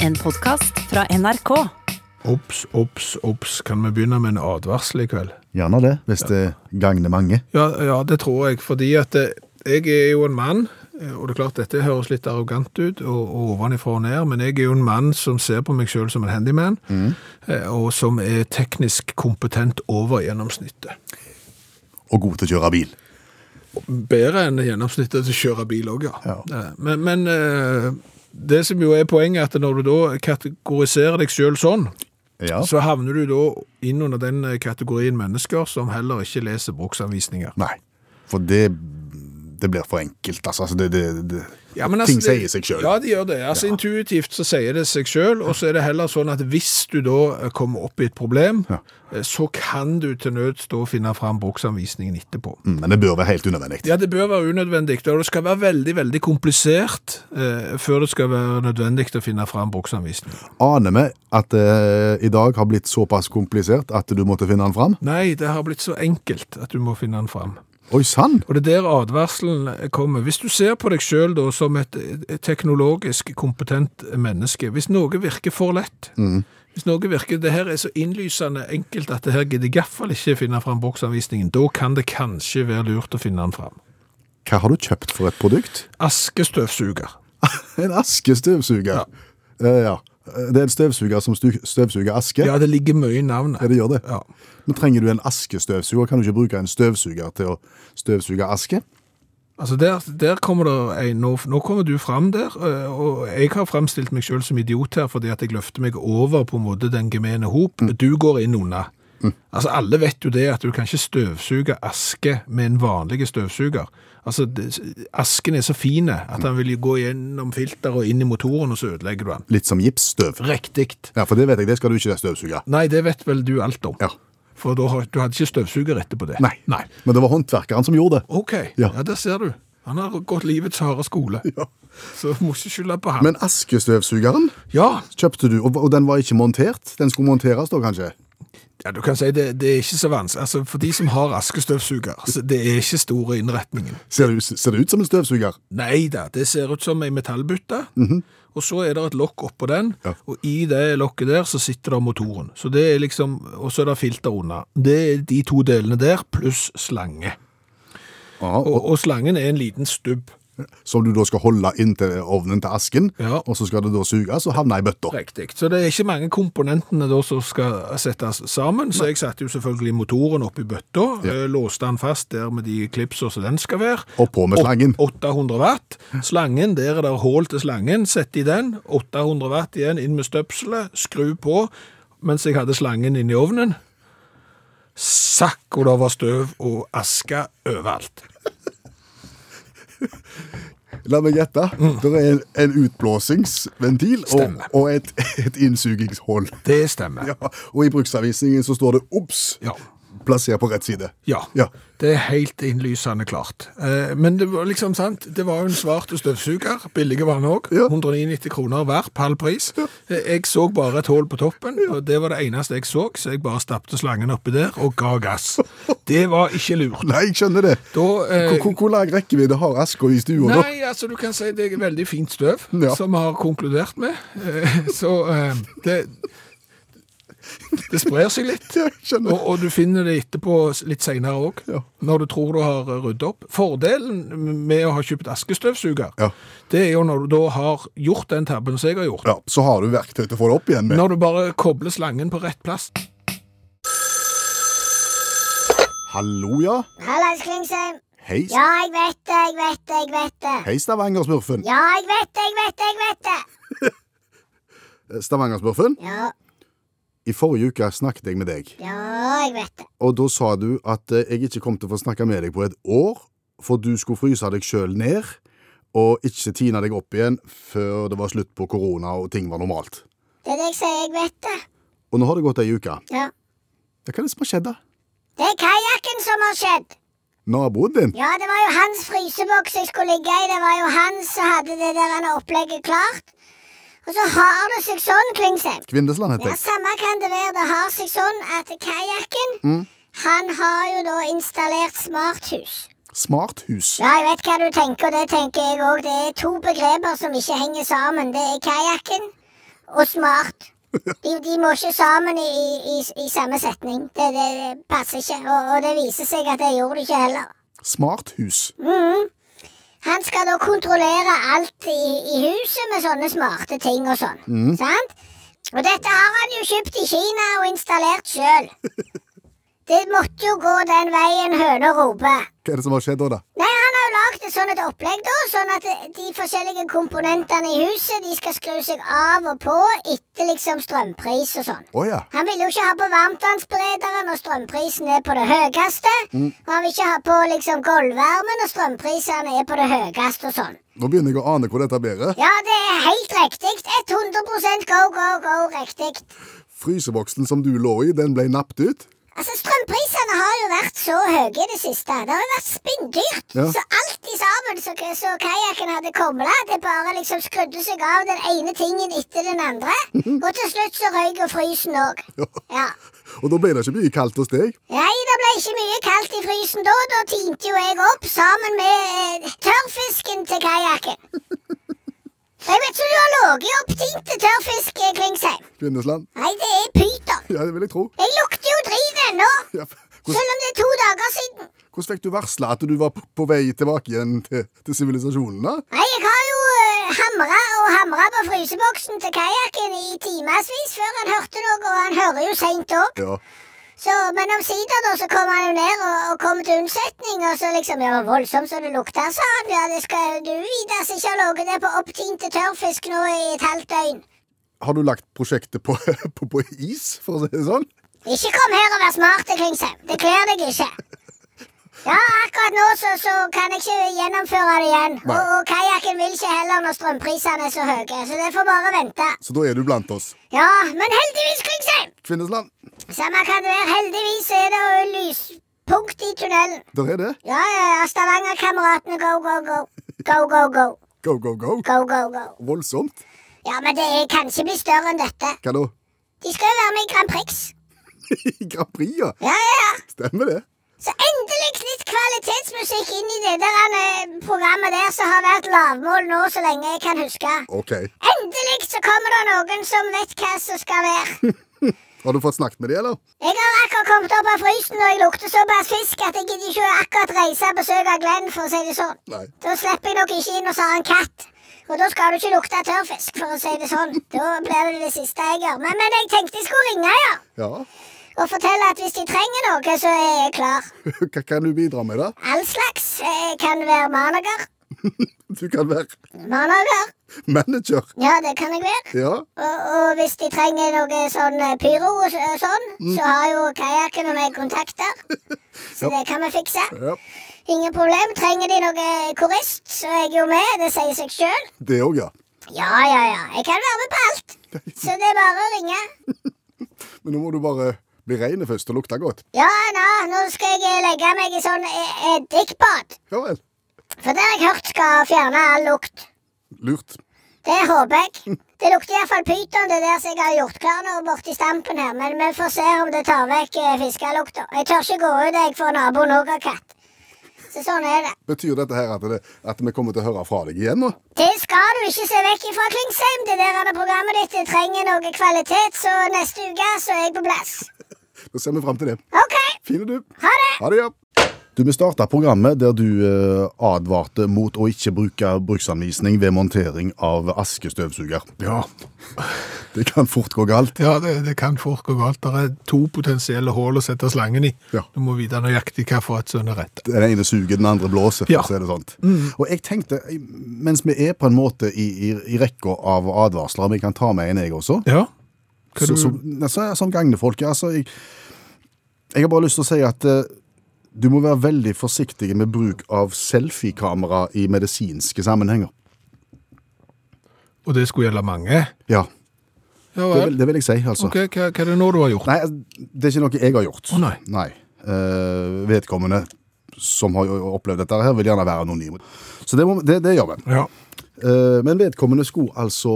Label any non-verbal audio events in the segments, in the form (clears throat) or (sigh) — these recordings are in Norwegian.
en podkast fra NRK. Obs, obs, obs. Kan vi begynne med en advarsel i kveld? Gjerne det, hvis det gagner mange. Ja, ja det tror jeg. Fordi at eh, jeg er jo en mann, eh, og det er klart dette høres litt arrogant ut, og, og ovenifra og ned, men jeg er jo en mann som ser på meg sjøl som en handyman, eh, og som er teknisk kompetent over gjennomsnittet. Og god til å kjøre bil. Bedre enn gjennomsnittet til å kjøre bil òg, ja. Ja. Eh, Men, men eh, det som jo er poenget, er at når du da kategoriserer deg sjøl sånn, Ja. så havner du da inn under den eh, kategorien mennesker som heller ikke leser bruksanvisninger. Nei, for det, det blir for enkelt, altså. Altså, Det, det, det. Ja, men altså, Ting det- sier seg selv. Ja, de gjør det. Altså Intuitivt så sier det seg selv, og så er det heller sånn at hvis du da eh, kommer opp i et problem, Ja. eh, så kan du til nød stå og finne fram bruksanvisningen etterpå. Mm, Men det bør være helt unødvendig. Ja, det bør være unødvendig, og det skal være veldig, veldig komplisert eh, før det skal være nødvendig å finne fram bruksanvisningen. Aner vi at det i dag har blitt såpass komplisert at du måtte finne den fram? Nei, det har blitt så enkelt at du må finne den fram. Oi sann! Og det er der advarselen kommer. Hvis du ser på deg sjøl som et et teknologisk kompetent menneske, hvis noe virker for lett Hvis noe virker det her er så innlysende enkelt at det her gidder jeg iallfall ikke finne fram bruksanvisningen, da kan det kanskje være lurt å finne den fram. Hva har du kjøpt for et produkt? (laughs) Askestøvsuger. En askestøvsuger. Eh, ja. Det er en støvsuger som stu- støvsuger aske. Ja, det ligger mye i navnet. Ja, det gjør det. Ja. Men trenger du en askestøvsuger? Kan du ikke bruke en støvsuger til å støvsuge aske? Altså der, der kommer det en, nå, nå kommer du fram der, eh, og jeg har fremstilt meg selv som idiot her, fordi at jeg løfter meg over på en måte den gemene hop. Mm. Du går inn unna. Altså alle vet jo det at du kan ikke støvsuge aske med en vanlig støvsuger. Altså det, asken er så fine at han vil jo gå gjennom filter og inn i motoren, og så ødelegger du han. Litt som gipsstøv. Riktigt. Ja, for det vet jeg, det skal du ikke støvsuge. Nei, det vet vel du alt om. Ja. For da, har- du hadde ikke støvsuger etterpå det. Nei. Nei. Men det var håndverkeren som gjorde det. Ok, ja. Ja. der ser du. Han har gått livets harde skole. Så må ikke skylde på ham. Men askestøvsugeren ja, kjøpte du, og og den var ikke montert? Den skulle monteres da, kanskje? ja, du kan si det, det er ikke så vanskelig. Altså, for de som har askestøvsuger, så det er ikke store innretningen. Ser det, ut- ser det ut som en støvsuger? Nei da, det ser ut som ei metallbytte. Og så er det et lokk oppå den, Mhm. Ja. og i det lokket der så sitter der motoren. Så det er liksom, Og så er det filter unna. Det er de to delene der, pluss slange. Ja, og, Og, og slangen er en liten stubb. som du da skal holde inntil ovnen til asken, Ja. og så skal det da suges og havne i bøtta. Riktig. Så det er ikke mange komponentene da som skal settes sammen. Så jeg satte jo selvfølgelig motoren oppi bøtta, eh, låste den fast der med de klipser som den skal være. Og på med Åt- slangen. 800 watt. Slangen, der er det hål til slangen. Sett i den. 800 watt igjen, inn med støpselet, skru på. Mens jeg hadde slangen inn i ovnen. Sakk, og det var støv og aske overalt. La meg gjette. Det er en, en utblåsingsventil og, Mm. Stemmer. og et, et innsugingshull. Det stemmer. Ja, og i bruksanvisningen så står det 'obs', Ja. plassert på rett side. Ja, Ja. det er helt innlysende klart. Eh, men det var liksom sant, det var jo en svart støvsuger, billige var den òg. Ja. 199 kroner hver, halv pris. Eh, Jeg så bare et hull på toppen, og det var det eneste jeg så, så jeg bare stappte slangen oppi der og ga (laughs) gass. Det var ikke lurt. Nei, jeg skjønner det. Da eh, Hvor, hvor, hvor lang rekkevidde har aska i stua (laughs) da? Nei, altså du kan si det er veldig fint støv, Ja. som vi har konkludert med. Eh, så eh, det Det sprer seg (laughs) litt. Jeg skjønner. Og, og du finner det etterpå litt senere òg, Ja. når du tror du har ryddet opp. Fordelen med å ha kjøpt askestøvsuger, Ja. det er jo når du da har gjort den tabben som jeg har gjort. Ja, så har du verktøy til å få det opp igjen med. Når du bare kobler slangen på rett plass. Hallo, ja. Hallais, Klingsheim. Hei, Ja, jeg vet det, jeg vet det, jeg vet det. hei Stavanger-smurfen. Ja, jeg vet det, jeg vet det, jeg vet det. Eh, Stavanger-smurfen, Ja, i forrige uke snakket jeg med deg, ja, jeg vet det. og da sa du at eh, jeg ikke kom til å få snakke med deg på et år, for du skulle fryse deg sjøl ned og ikke tine deg opp igjen før det var slutt på korona og ting var normalt. Det er det jeg sier, jeg vet det. Og nå har det gått ei uke. Ja. Ja, Hva er det som har skjedd, da? Det er kajakken som har skjedd. Naboen din? Ja, det var jo hans fryseboks jeg skulle ligge i. Det var jo han som hadde det der han opplegget klart. Og så har det seg sånn, Klingsheim. Kvindesland heter Ja, jeg. samme kan det være. Det har seg sånn at kajakken, han har jo da installert smarthus. Smarthus. Ja, jeg vet hva du tenker, og det tenker jeg òg. Det er to begreper som ikke henger sammen. Det er kajakken og smart. De, de må ikke sammen i, i, i- i samme setning. Det, det, det passer ikke. Og, og det viser seg at det gjorde det ikke heller. Smarthus. Han skal da kontrollere alt i, i huset med sånne smarte ting og sånn. Sant? Og dette har han jo kjøpt i Kina og installert sjøl. Det måtte jo gå den veien høna roper. Hva er det som har skjedd da, da? Nei, han har jo lagd et sånt et opplegg, da, sånn at de forskjellige komponentene i huset de skal skru seg av og på etter liksom strømpris og sånn. Å ja. Han vil jo ikke ha på varmtvannsberederen når strømprisen er på det høyeste. Og han vil ikke ha på liksom gulvvarmen når strømprisene er på det høyeste og sånn. Nå begynner jeg å ane hvor dette bærer. Ja, det er helt riktig. 100 go, go, go riktig. Fryseboksen som du lå i, den ble nappet ut. Altså, Strømprisene har jo vært så høye i det siste. Det har jo vært spinndyrt. Ja. Så alt i sammen så, så kajakken hadde komla, det bare liksom skrudde seg av den ene tingen etter den andre. Mhm. Og til slutt så røyk jo frysen òg. Ja. Og da ble det ikke mye kaldt hos deg. Nei, det ble ikke mye kaldt i frysen da. Da tinte jo jeg opp sammen med eh, tørrfisken til kajakken. (laughs) Jeg vet ikke om du har ligget i opptinte tørrfisk, eh, Klingsheim. Kvinnesland. Nei, det er pyton. Ja, det vil jeg tro. Jeg lukter jo drit ennå. Ja. Hvordan, Selv om det er to dager siden. hvordan fikk du varsla at du var på, på vei tilbake igjen til til sivilisasjonen, da? Nei, jeg har jo uh, hamra og hamra på fryseboksen til kajakken i timevis før han hørte noe, og han hører jo seint òg. Ja. Så, men omsider da, så kom han jo ned og, og kom til unnsetning, og så liksom Ja, voldsomt som det lukta, sa han. Ja, det skal du vite som ikke har ligget der på opptinte tørrfisk nå i et halvt døgn. Har du lagt prosjektet på, (laughs) på, på is, for å si det sånn? Ikke kom her og vær smart, Klingsheim. Det kler deg ikke. Ja, akkurat nå så, så kan jeg ikke gjennomføre det igjen. Og, Nei. og kajakken vil ikke heller når strømprisene er så høye, så det får bare vente. Så da er du blant oss. Ja, men heldigvis, Klingsheim! Kvinnesland. Samme kan det være, heldigvis er det jo lyspunkt i tunnelen. Der er det. Ja, ja, ja, Stavanger-kameratene, go, go, go. Go, go, go. Go, go, go. Go, go, go. Voldsomt. Ja, men det er- kan ikke bli større enn dette. Hva da? (laughs) De skal jo være med i Grand Prix. Grand Prix, ja. Ja, ja, ja. Stemmer det. Så endelig litt kvalitetsmusikk inn i det der eh, programmet der som har vært lavmål nå så lenge jeg kan huske. OK. Endelig så kommer det noen som vet hva som skal være. Har du fått snakket med de, eller? Jeg har akkurat kommet opp av frysen, og jeg lukter såpass fisk at jeg gidder ikke akkurat reise og besøke Glenn, for å si det sånn. Nei. Da slipper jeg nok ikke inn og så har en katt. Og da skal du ikke lukte tørrfisk, for å si det sånn. Da blir det det siste jeg gjør. Men, men jeg tenkte jeg skulle ringe, ja. Ja. (laughs) Og fortelle at hvis de trenger noe, så er jeg klar. Hva kan du bidra med, da? All slags. Jeg kan være manager. Du kan være Manager. manager. Ja, det kan jeg være. Ja. Og, og hvis de trenger noe sånn eh, pyro og så- og sånn, Mm. så har jo kajakken og meg (laughs) kontakter. Så det kan vi fikse. ja. Ingen problem. Trenger de noe korist, så er jeg jo med. Det sier seg sjøl. Det òg, ja. Ja, ja, ja. Jeg kan være med på alt. Så det er bare å ringe. Men nå må du bare bli rein først og lukte godt. Ja, nå, nå skal jeg eh, legge meg i sånn eh, eddikbad. Ja vel. For det har jeg hørt skal fjerne all lukt. Lurt. Det håper jeg. Det lukter iallfall pyton, det der som jeg har gjort klar nå borti stampen her. Men vi får se om det tar vekk eh, fiskelukta. Jeg tør ikke gå ut, jeg, for naboen òg har katt. Så sånn er det. Betyr dette her at, det, at vi kommer til å høre fra deg igjen nå? Det skal du ikke se vekk ifra, Klingsheim. Det der er det programmet ditt det trenger noe kvalitet, så neste uke så er jeg på plass. Da ser vi fram til det. OK, Fine, du. ha det! Ha det, ja. Du, Vi starta programmet der du eh, advarte mot å ikke bruke bruksanvisning ved montering av askestøvsuger. Ja, Det kan fort gå galt. ja det, det kan fort gå galt. Det er to potensielle hull å sette slangen i. Ja. Du må vite nøyaktig hva for et som er rett. Den ene suger, den andre blåser, for Ja. å si det sånt. Og jeg tenkte, mens vi er på en måte i, i, i rekka av advarsler, om jeg kan ta med en jeg også, Ja, hva så, du- som, altså, som gagnefolk. Altså, jeg, jeg har bare lyst til å si at eh, du må være veldig forsiktig med bruk av selfiekamera i medisinske sammenhenger. og det skulle gjelde mange. Ja, Ja det vil, det vil jeg si, altså. Ok, hva, hva er det nå du har gjort? Nei, altså, det er ikke noe jeg har gjort. Å, nei. Eh, vedkommende som har opplevd dette her, vil gjerne være anonym. Så det, må, det, det gjør vi. Ja. Eh, Men vedkommende skulle altså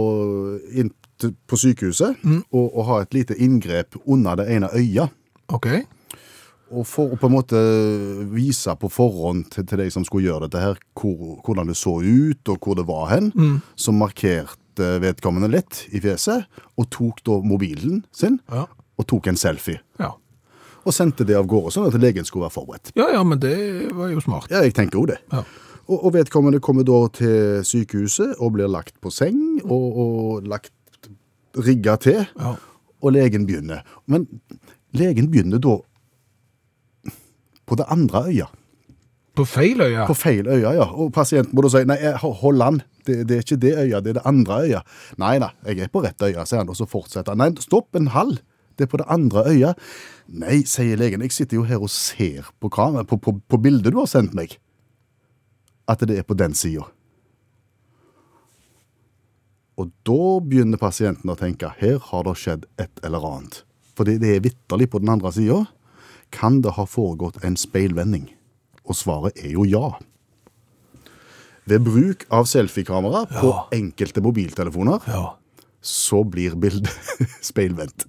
inn til- på sykehuset Mm. og, og ha et lite inngrep under det ene øyet. Ok, Og for å på en måte vise på forhånd til, til de som skulle gjøre dette her, hvor, hvordan det så ut og hvor det var hen, så markerte møtte vedkommende litt i fjeset, og tok da mobilen sin Ja. og tok en selfie. Ja. Og sendte det av gårde, sånn at legen skulle være forberedt. ja, ja, men det var jo smart. Ja, jeg tenker jo det. Ja. Og, og vedkommende kommer da til sykehuset og blir lagt på seng og, og lagt rigga til, Ja. og legen begynner. Men legen begynner da på det andre øya. På feil øya. På feil øya, ja. Og pasienten må da si nei, jeg- hold an. Det, det er ikke det øya, det er det andre øya. Nei da, jeg er på rett øya, sier han, og så fortsetter han. Nei, stopp en halv. Det er på det andre øya. Nei, sier legen, jeg sitter jo her og ser på, kamera, på, på, på bildet du har sendt meg, at det er på den sida. Og da begynner pasienten å tenke her har det skjedd et eller annet. Fordi det er vitterlig på den andre sida. Kan det ha foregått en speilvending? Og svaret er jo ja. Ved bruk av selfiekamera på enkelte mobiltelefoner Ja. så blir bildet (laughs) speilvendt.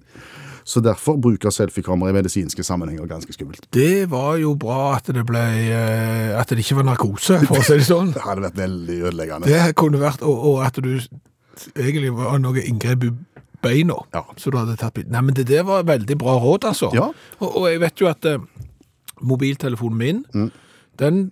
Så derfor bruker selfiekamera i medisinske sammenhenger ganske skummelt. Det var jo bra at det ble eh, At det ikke var narkose, for å si det (laughs) sånn. Det hadde vært veldig ødeleggende. Det kunne vært Og, og at du egentlig var noe inngrep i beina. Ja. Så du hadde tatt bilde. Nei, men det der var veldig bra råd, altså. Ja. Og, og jeg vet jo at eh, mobiltelefonen min, Mm. den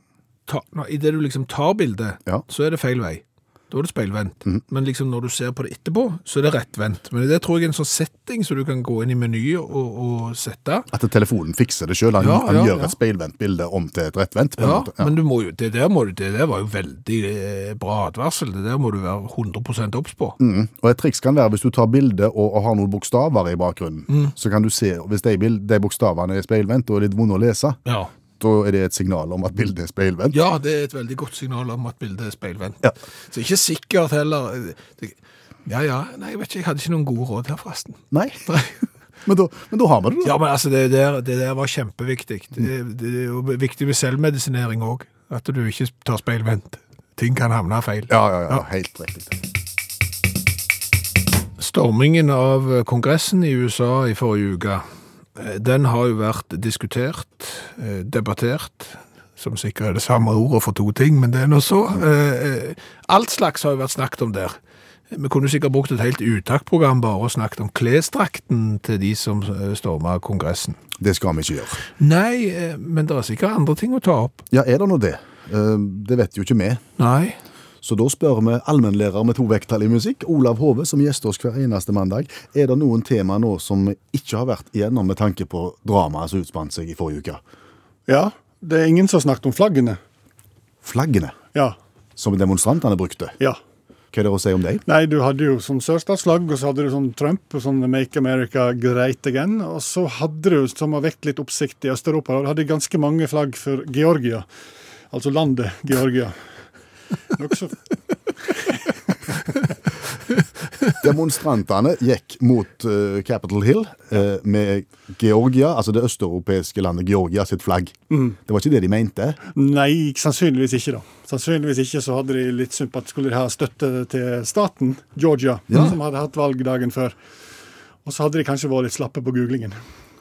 tar, når, i det du liksom tar bildet, Ja. Mm. så er det feil vei. Da er det speilvendt. Men liksom når du ser på det etterpå, så er det rettvendt. Men det tror jeg er en sånn setting så du kan gå inn i menyen og, og sette. At telefonen fikser det sjøl. Han, Ja, han ja, gjør ja. et speilvendt bilde om til et rettvendt. på en Ja, måte. men du må jo, det, der må du, det der var jo veldig eh, bra advarsel. Det der må du være 100 obs på. Mm. Og et triks kan være hvis du tar bilde og, og har noen bokstaver i bakgrunnen, så kan du se, hvis de, bil- de bokstavene er speilvendt og er litt vonde å lese, Ja. da er det et signal om at bildet er speilvendt. Ja, det er et veldig godt signal om at bildet er speilvendt. Ja. Så ikke sikkert heller eh, det, Ja, ja, nei, jeg vet ikke, jeg hadde ikke noen gode råd her, forresten. Nei, Nei. men da, men da har vi det, da. (laughs) Ja, men altså, det der, det der var kjempeviktig. Det, det er jo viktig ved selvmedisinering òg, at du ikke tar speilvendt. Ting kan havne feil. Ja, ja, ja, helt riktig. Stormingen av Kongressen i USA i forrige uke, eh, den har jo vært diskutert, eh, debattert, som sikkert er det samme ordet for to ting, men det er nå så. Eh, eh, Alt slags har jo vært snakket om der. Vi kunne sikkert brukt et helt uttaktprogram bare og snakket om klesdrakten til de som eh, stormet Kongressen. Det skal vi ikke gjøre. Nei, eh, men det er sikkert andre ting å ta opp. Ja, er det nå det? Eh, Det vet jo ikke vi. Nei. Så da spør vi allmennlærer med to vekttall i musikk, Olav Hove, som gjester oss hver eneste mandag. Er det noen tema nå som ikke har vært igjennom med tanke på dramaet som utspant seg i forrige uke? Ja, det er ingen som har snakket om flaggene. Flaggene Ja, som demonstrantene brukte. ja. Hva er det å si om dem? Nei, du hadde jo sånn sørstatsflagg, og så hadde du sånn Trump og sånn Make America Great Again. Og så hadde du, som har vekt litt oppsikt i Øst-Europa, og du hadde ganske mange flagg for Georgia. Altså landet Georgia. Nokså (laughs) Demonstrantene gikk mot eh, Capitol Hill eh, med Georgia, altså det østeuropeiske landet Georgia, sitt flagg. Det var ikke det de mente. Nei, sannsynligvis ikke, da. Sannsynligvis ikke så hadde de litt sympati skulle de ha støtte til staten, Georgia, som hadde hatt valg dagen før. Og så hadde de kanskje vært litt slappe på googlingen.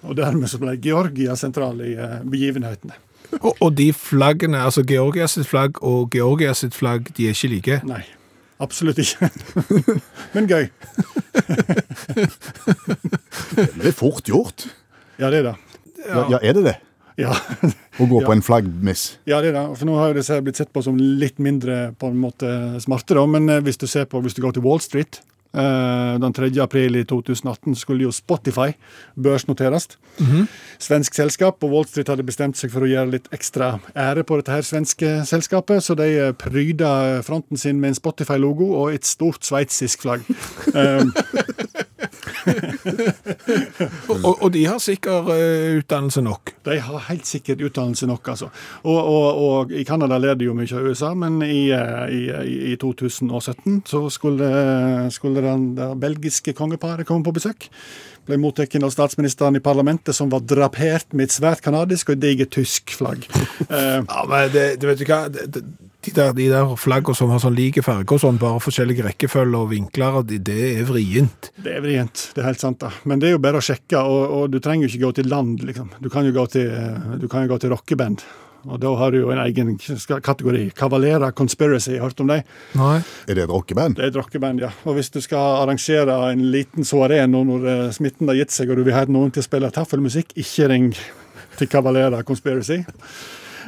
Og dermed så ble Georgia sentral i eh, begivenhetene. Og, og de flaggene, altså Georgia sitt flagg og Georgia sitt flagg, de er ikke like. Nei, absolutt ikke. (laughs) Men gøy. Det er fort gjort. Ja, det er det. Ja, ja er det det? Ja. Å gå på en flaggmiss. ja, det er det. For nå har jo disse blitt sett på som litt mindre på en måte smarte, da. Men eh, hvis du ser på, hvis du går til Wall Street eh, den 3. april i 2018 skulle jo Spotify børsnoteres. Svensk selskap, og Wall Street hadde bestemt seg for å gjøre litt ekstra ære på dette her svenske selskapet, så de eh, pryda fronten sin med en Spotify-logo og et stort sveitsisk flagg. Eh, Og, og- og de har sikkert eh, utdannelse nok. De har helt sikkert utdannelse nok, altså. Og, og, og i Canada leder de jo mye av USA, men i, eh, i, i- i 2017 så skulle, skulle den, det belgiske kongeparet komme på besøk. Ble mottatt av statsministeren i parlamentet, som var drapert med et svært kanadisk og et digert tysk flagg. Eh, Ja, men det, det vet du hva, det, det, de der, de der flaggene som har sånn like farge og sånn, bare forskjellige rekkefølger og vinkler, og de, det er vrient. Det er vrient, det er helt sant. da. Men det er jo bare å sjekke, og, og du trenger jo ikke gå til land, liksom. Du kan jo gå til, du kan jo gå til rockeband Og da har du jo en egen ska- kategori. Cavalera Conspiracy, har du hørt om dem? Nei. Er det et rockeband? Det er et rockeband, ja. Og hvis du skal arrangere en liten soaré nå når eh, smitten har gitt seg, og du vil ha noen til å spille taffelmusikk, ikke ring til Cavalera Conspiracy.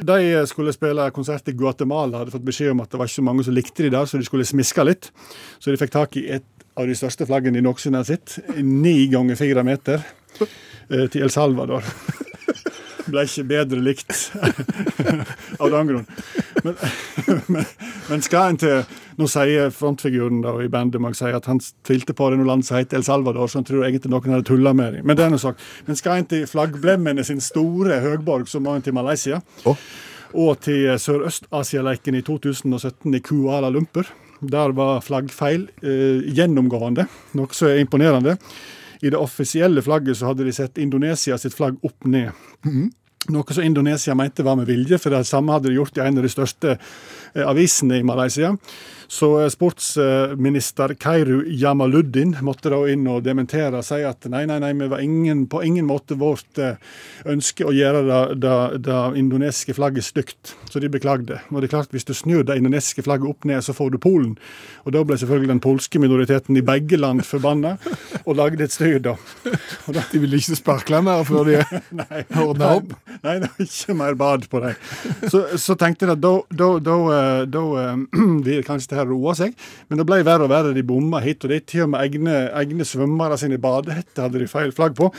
De eh, skulle spille konsert i Guatemala, hadde fått beskjed om at det var ikke så mange som likte de der, så de skulle smiske litt. Så de fikk tak i et av de største flaggene de noensinne har sett, ni ganger fire meter, eh, til El Salvador. (laughs) Ble ikke bedre likt (laughs) av den grunn. Men, men, men skal en til Nå sier frontfiguren da, i bandet man sier at han tvilte på det når landet som heter El Salvador, så han tror egentlig noen hadde tulla med dem. Men det er noe sak. Men skal en til flaggblemmene sin store høgborg, så må en til Malaysia. Å. Og til Sørøst-Asia-leken i 2017 i Kuala Lumpur. Der var flaggfeil eh, gjennomgående, noe som er imponerende. I det offisielle flagget så hadde de sett Indonesia sitt flagg opp ned. Noe som Indonesia mente var med vilje, for det samme hadde de gjort i en av de største eh, avisene i Malaysia. Så eh, sportsminister Kairu Jamaluddin måtte da inn og dementere og si at nei, nei, nei, vi var ingen, på ingen måte vårt eh, ønske å gjøre det, det, det indonesiske flagget stygt. Så de beklagde. Og det er klart, hvis du snur det indonesiske flagget opp ned, så får du Polen. Og da ble selvfølgelig den polske minoriteten i begge land forbanna og lagde et styr, da. De vil ikke sparkle mer før de (laughs) Nei. ordner opp. Nei, det var ikke mer bad på dem. Så, så tenkte jeg at da, da, da, eh, da eh, (clears throat) vil kanskje det her roe seg. Men det ble verre og verre. De bomma hit og dit. Til og med egne, egne svømmere sine badehetter hadde de feil flagg på.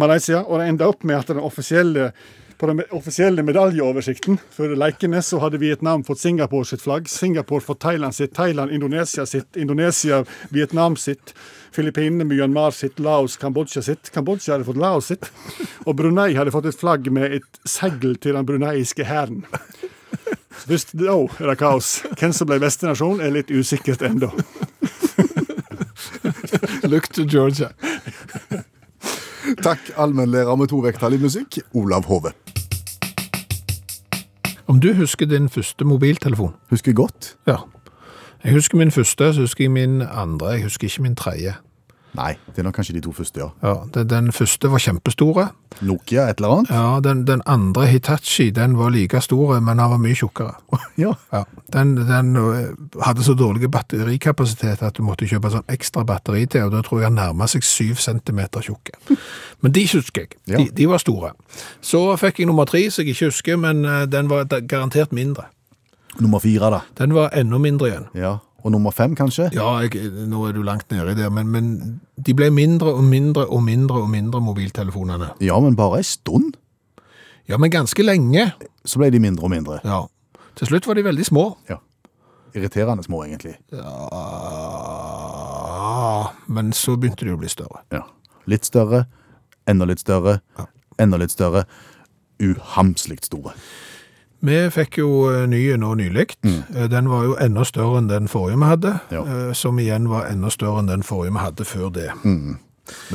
Malaysia. Og det enda opp med at den offisielle på den offisielle medaljeoversikten for lekene så hadde Vietnam fått Singapore sitt flagg, Singapore fått Thailand sitt, Thailand Indonesia sitt, Indonesia Vietnam sitt, Filippinene Myanmar sitt, Laos Kambodsja sitt, Kambodsja hadde fått Laos sitt, og Brunei hadde fått et flagg med et segl til den bruneiske hæren. Så Først da er det kaos. Hvem som ble beste nasjon, er litt usikkert ennå. Look to Georgia. Takk, allmennlærer med to vekttall i musikk, Olav Hove. Om du husker din første mobiltelefon? Husker jeg godt? Ja. Jeg husker min første, så husker jeg min andre. Jeg husker ikke min tredje. Nei, det er nok kanskje de to første, ja. Ja, den, den første var kjempestore. Nokia, et eller annet? Ja, den, den andre Hitachi, den var like store, men den var mye (laughs) tjukkere. Ja. Ja, den, den øh, hadde så dårlig batterikapasitet at du måtte kjøpe sånn ekstra batteri til, og da tror jeg han nærmet seg syv centimeter tjukke. Men de husker jeg. Ja. De, de var store. Så fikk jeg nummer tre, som jeg ikke husker, men øh, den var da- garantert mindre. Nummer fire, da. Den var enda mindre igjen. Ja. Og nummer fem, kanskje? Ja, jeg, nå er du langt nede i det, men, men de ble mindre og mindre og mindre og mindre mobiltelefonene. Ja, men bare ei stund Ja, men ganske lenge. så ble de mindre og mindre. Ja. Til slutt var de veldig små. Ja. Irriterende små, egentlig. Ja, men så begynte de å bli større. Ja. Litt større, enda litt større, enda litt større. Uhamslig store. Vi fikk jo eh, nye nå nylig. Eh, Den var jo enda større enn den forrige vi hadde, Ja. eh, som igjen var enda større enn den forrige vi hadde før det.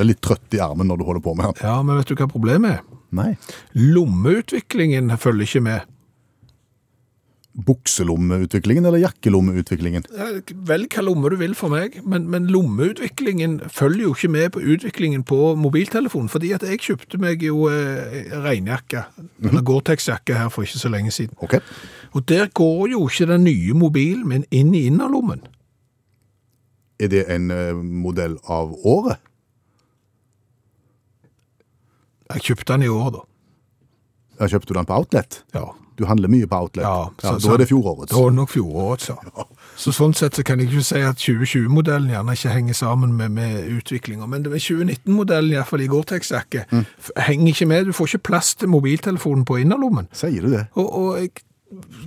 Veldig trøtt i armen når du holder på med den. Ja, men vet du hva problemet er? Nei. Lommeutviklingen følger ikke med. Bukselommeutviklingen eller jakkelommeutviklingen? Eh, Vel hva lomme du vil for meg, men, men lommeutviklingen følger jo ikke med på utviklingen på mobiltelefonen, fordi at jeg kjøpte meg jo eh, regnjakke, eller Gore-Tex-jakke her for ikke så lenge siden. Ok. Og der går jo ikke den nye mobilen min inn i innerlommen. Er det en eh, modell av året? Jeg kjøpte den i år da. Ja, kjøpte du den på Outlet? Ja, Du handler mye på Outlet. Ja, så- da så- er det fjorårets. Det var nok fjoråret, så. Så sånn sett så kan jeg ikke si at 2020-modellen gjerne ikke henger sammen med, med utviklinga, men det med 2019-modellen, iallfall i Gore-Tex-jakke, Mm. f- henger ikke med. Du får ikke plass til mobiltelefonen på innerlommen. Sier du det? Og, og jeg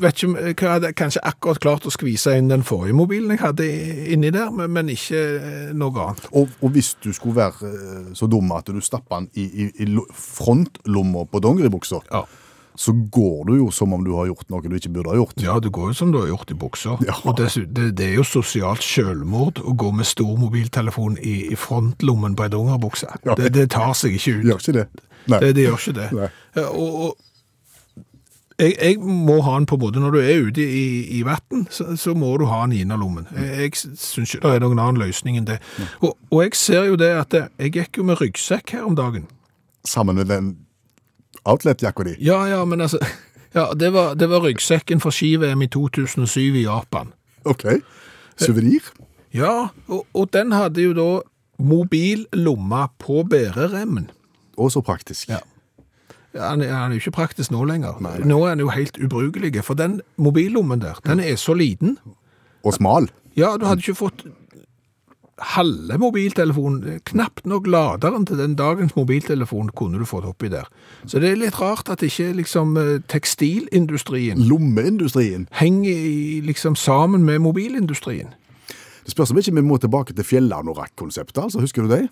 vet ikke om eh, jeg hadde kanskje akkurat klart å skvise inn den forrige mobilen jeg hadde i- inni der, men, men ikke eh, noe annet. Og, og hvis du skulle være eh, så dum at du stapper den i, i, i lo- frontlomma på dongeribuksa, Ja. så går du jo som om du har gjort noe du ikke burde ha gjort. Ja, det går jo som du har gjort i buksa. Ja. Og dessuten, det, det er jo sosialt selvmord å gå med stor mobiltelefon i, i frontlommen på en dongerbukse. Ja. Det, det tar seg ikke ut. Gjør ikke det. Nei. Det, det gjør ikke det. Nei. Ja, Og, og jeg, jeg må ha den på en måte når du er ute i, i vann, så, så må du ha den i innerlommen. Jeg, jeg syns ikke det er noen annen løsning enn det. Og, og jeg ser jo det at jeg gikk jo med ryggsekk her om dagen. Sammen med den outlet-jakka di. Ja, ja, men altså (laughs) Ja, det var, det var ryggsekken for ski-VM i 2007 i Japan. OK. Suvenir? Ja, og, og den hadde jo da mobil lomme på bæreremmen. Å, så praktisk. Ja. Ja, Han, er- han er jo ikke praktisk nå lenger. Nå er han jo helt ubrukelig, for den mobillommen der, den er så liten. Og smal. Ja, du hadde ikke fått halve mobiltelefonen, knapt nok laderen til den dagens mobiltelefon kunne du fått oppi der. Så det er litt rart at ikke liksom eh, tekstilindustrien Lommeindustrien. henger i, liksom sammen med mobilindustrien. Det spørs om ikke vi må tilbake til fjellanorakk-konseptet, altså. Husker du det?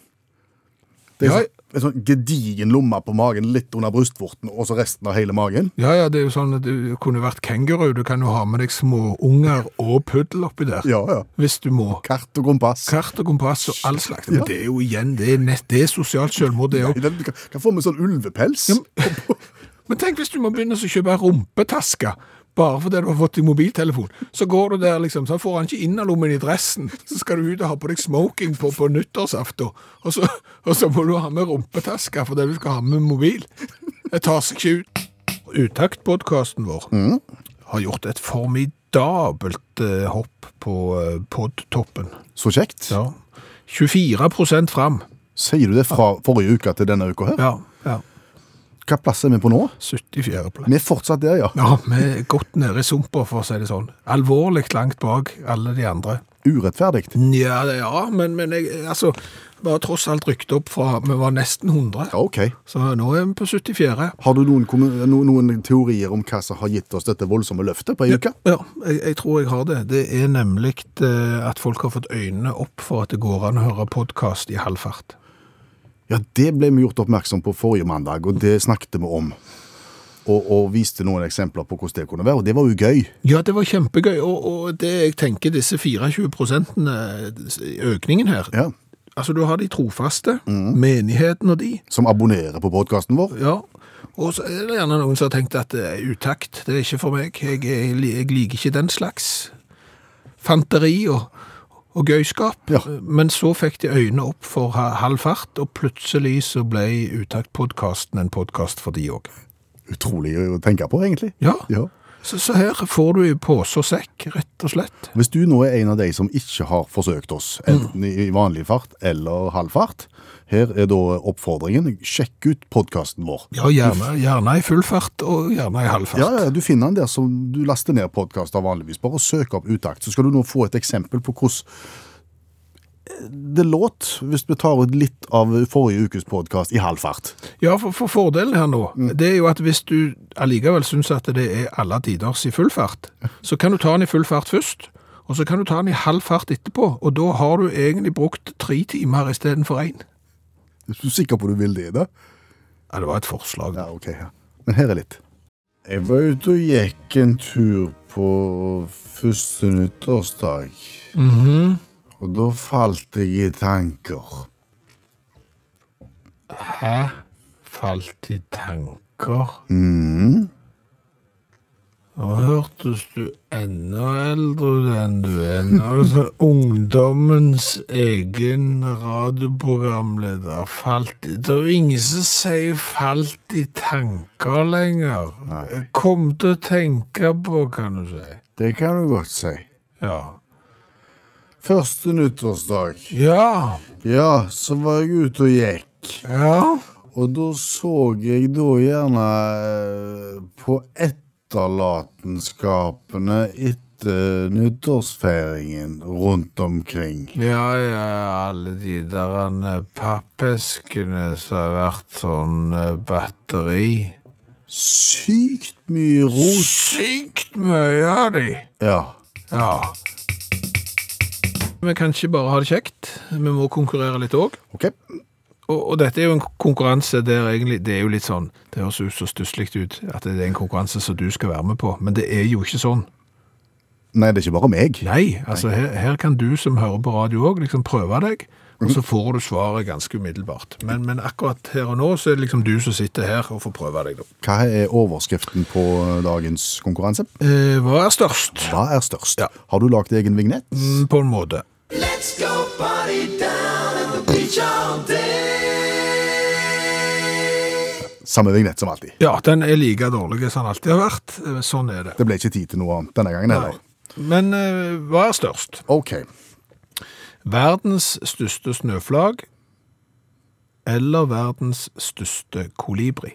Det er Ja. sånn, en sånn gedigen lomme på magen, litt under brystvorten, og så resten av hele magen. Ja, ja, det er jo sånn at du kunne vært kenguru, du kan jo ha med deg små unger og puddel oppi der, Ja, ja. hvis du må. Kart og kompass. Kart og kompass og all slags. Men det er jo igjen, det er, nett, det er sosialt selvmord det Nei, også. den kan, kan få med sånn ulvepels. Men tenk hvis du må begynne å kjøpe rumpetaske bare fordi du har fått din mobiltelefon. Så går du der, liksom, så får han ikke innerlommen i dressen. Så skal du ut og ha på deg smoking på, på nyttårsaften, og så, og så må du ha med rumpetaske fordi du skal ha med mobil. Det tar seg ikke ut. Utaktpodkasten vår har gjort et formidabelt eh, hopp på eh, podtoppen. Så kjekt. Ja. 24 fram. Sier du det fra forrige uke til denne uka her? Ja. ja. Hva plass er vi på nå? 74. plass. Vi er fortsatt der, ja. Ja, vi er godt nede i sumpa, for å si det sånn. Alvorlig langt bak alle de andre. Urettferdig. Nja, det- ja, men, men jeg, altså, var tross alt rykt opp fra Vi var nesten 100, Ja, OK. så nå er vi på 74. Har du noen, kommu- no, noen teorier om hva som har gitt oss dette voldsomme løftet på ei uke? Ja, jeg, jeg tror jeg har det. Det er nemlig eh, at folk har fått øynene opp for at det går an å høre podkast i halv fart. Ja, det ble vi gjort oppmerksom på forrige mandag, og det snakket vi om. Og, og viste noen eksempler på hvordan det kunne være, og det var jo gøy. Ja, det var kjempegøy, og, og det jeg tenker, disse 24 prosentene, økningen her Ja, Altså, du har de trofaste, menigheten og de. Som abonnerer på podkasten vår. Ja, og så er det gjerne noen som har tenkt at det er utakt, det er ikke for meg, jeg, jeg, jeg liker ikke den slags fanteri og, og gøyskap. Ja. Men så fikk de øynene opp for ha- halv fart, og plutselig så ble utaktpodkasten en podkast for de òg. Utrolig å tenke på, egentlig. Ja. Ja. Så, så her får du i pose og sekk, rett og slett. Hvis du nå er en av de som ikke har forsøkt oss, enten i vanlig fart eller halv fart, her er da oppfordringen. Sjekk ut podkasten vår. Ja, gjerne, gjerne i full fart, og gjerne i halv fart. Ja, ja, Du finner den der som du laster ned podkaster vanligvis. Bare søk opp utakt, så skal du nå få et eksempel på hvordan eh, det låt hvis vi tar ut litt av forrige ukes podkast i halv fart. Ja, for, for fordelen her nå, det er jo at hvis du allikevel syns at det er alle tiders i full fart, så kan du ta den i full fart først, og så kan du ta den i halv fart etterpå, og da har du egentlig brukt tre timer istedenfor én. Er du sikker på du vil det? da? Ja, det var et forslag. Ja, ok. Ja. Men her er litt. Jeg var ute og gikk en tur på første nyttårsdag. Og da falt jeg i tanker. Hæ? Falt i tanker? Mhm, Nå hørtes du enda eldre ut enn du er. Nå er det sånn ungdommens egen radioprogramleder falt i Det er jo ingen som sier 'falt i tanker' lenger. Kom til å tenke på, kan du si. Det kan du godt si. Ja. Første nyttårsdag. Ja. Ja, så var jeg ute og gikk. Ja. Og da så jeg da gjerne eh, på etterlatenskapene etter nyttårsfeiringen rundt omkring. Ja, ja, alle de der eh, pappeskene som har vært sånn eh, batteri. Sykt mye ros. Sykt mye av de. Ja. Ja. Vi kan ikke bare ha det kjekt, vi må konkurrere litt òg. Ok. Og, og dette er jo en konkurranse der egentlig Det er jo litt sånn, det høres ut så stusslig ut at det er en konkurranse som du skal være med på, men det er jo ikke sånn. Nei, det er ikke bare meg. Nei, altså her, her kan du som hører på radio òg, liksom prøve deg, og så får du svaret ganske umiddelbart. Men, men akkurat her og nå så er det liksom du som sitter her og får prøve deg, da. Hva er overskriften på dagens konkurranse? Eh, hva er størst? Hva er størst? Ja. Har du lagt egen vignett? Mm, På en måte. Let's go party down at the beach all day. samme vignett som alltid. Ja, den er like dårlig som den alltid har vært. Eh, Sånn er det. Det ble ikke tid til noe annet denne gangen heller. Men eh, hva er størst? Ok, Verdens største snøflag eller verdens største kolibri?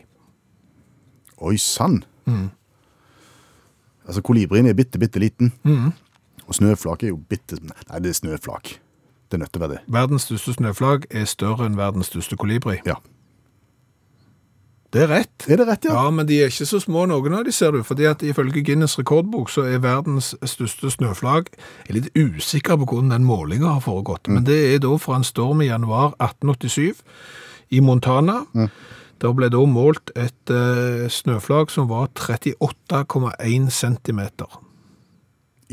oi sann. Altså, kolibrien er bitte, bitte liten. Og snøflak er jo bitte Nei, det er snøflak. Det er nødt til å være det. Verdens største snøflag er større enn verdens største kolibri. Ja. Det er rett. Er det rett, ja? Ja, men de er ikke så små noen av de, ser du. fordi at ifølge Guinness rekordbok så er verdens største snøflag Jeg er litt usikker på hvordan den målinga har foregått, men det er da fra en storm i januar 1887 i Montana. Der ble da målt et eh, snøflag som var 38,1 cm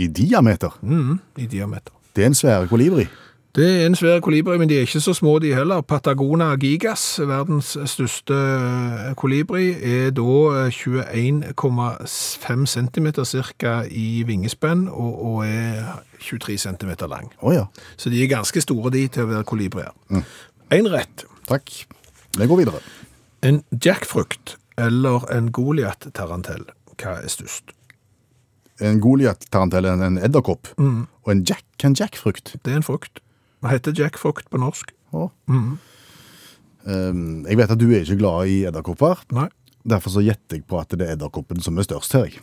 I diameter. Mm, i diameter. Det er en svær kolibri. Det er en svær kolibri, men de er ikke så små de heller. Patagona gigas, verdens største eh, kolibri, er da eh, 21,5 cm cirka i vingespenn, og, og er 23 cm lang. Å ja. Så de er ganske store de til å være kolibrier. En rett. Takk. Vi går videre. En jackfrukt eller en goliat-tarantell, hva er størst? En goliat-tarantell, en- en edderkopp, og en jack, hva er en jackfrukt. Det er en frukt. Hva heter jackfrukt på norsk? Å. Um, jeg vet at du er ikke glad i edderkopper. Nei, Derfor så gjetter jeg på at det er edderkoppen som er størst her. jeg.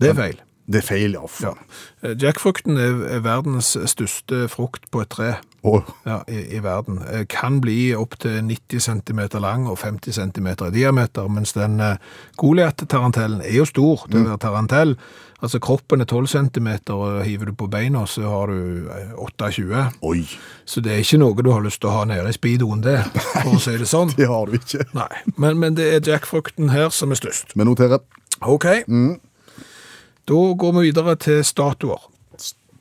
det er feil. Det er feil, ja. faen. Ja. Eh, Jackfrukten er er verdens største frukt på et tre Å, ja, i, i verden. Eh, Kan bli opptil 90 cm lang og 50 cm i diameter, mens den eh, Goliat-tarantellen er jo stor til å være tarantell. Altså kroppen er 12 cm, og hiver du på beina så har du eh, 28. Oi, Så det er ikke noe du har lyst til å ha nede i speedoen det, for å si det (laughs) sånn. det har du ikke. Nei, men, men det er jackfrukten her som er størst. Vi noterer. Ok. Da går vi videre til statuer.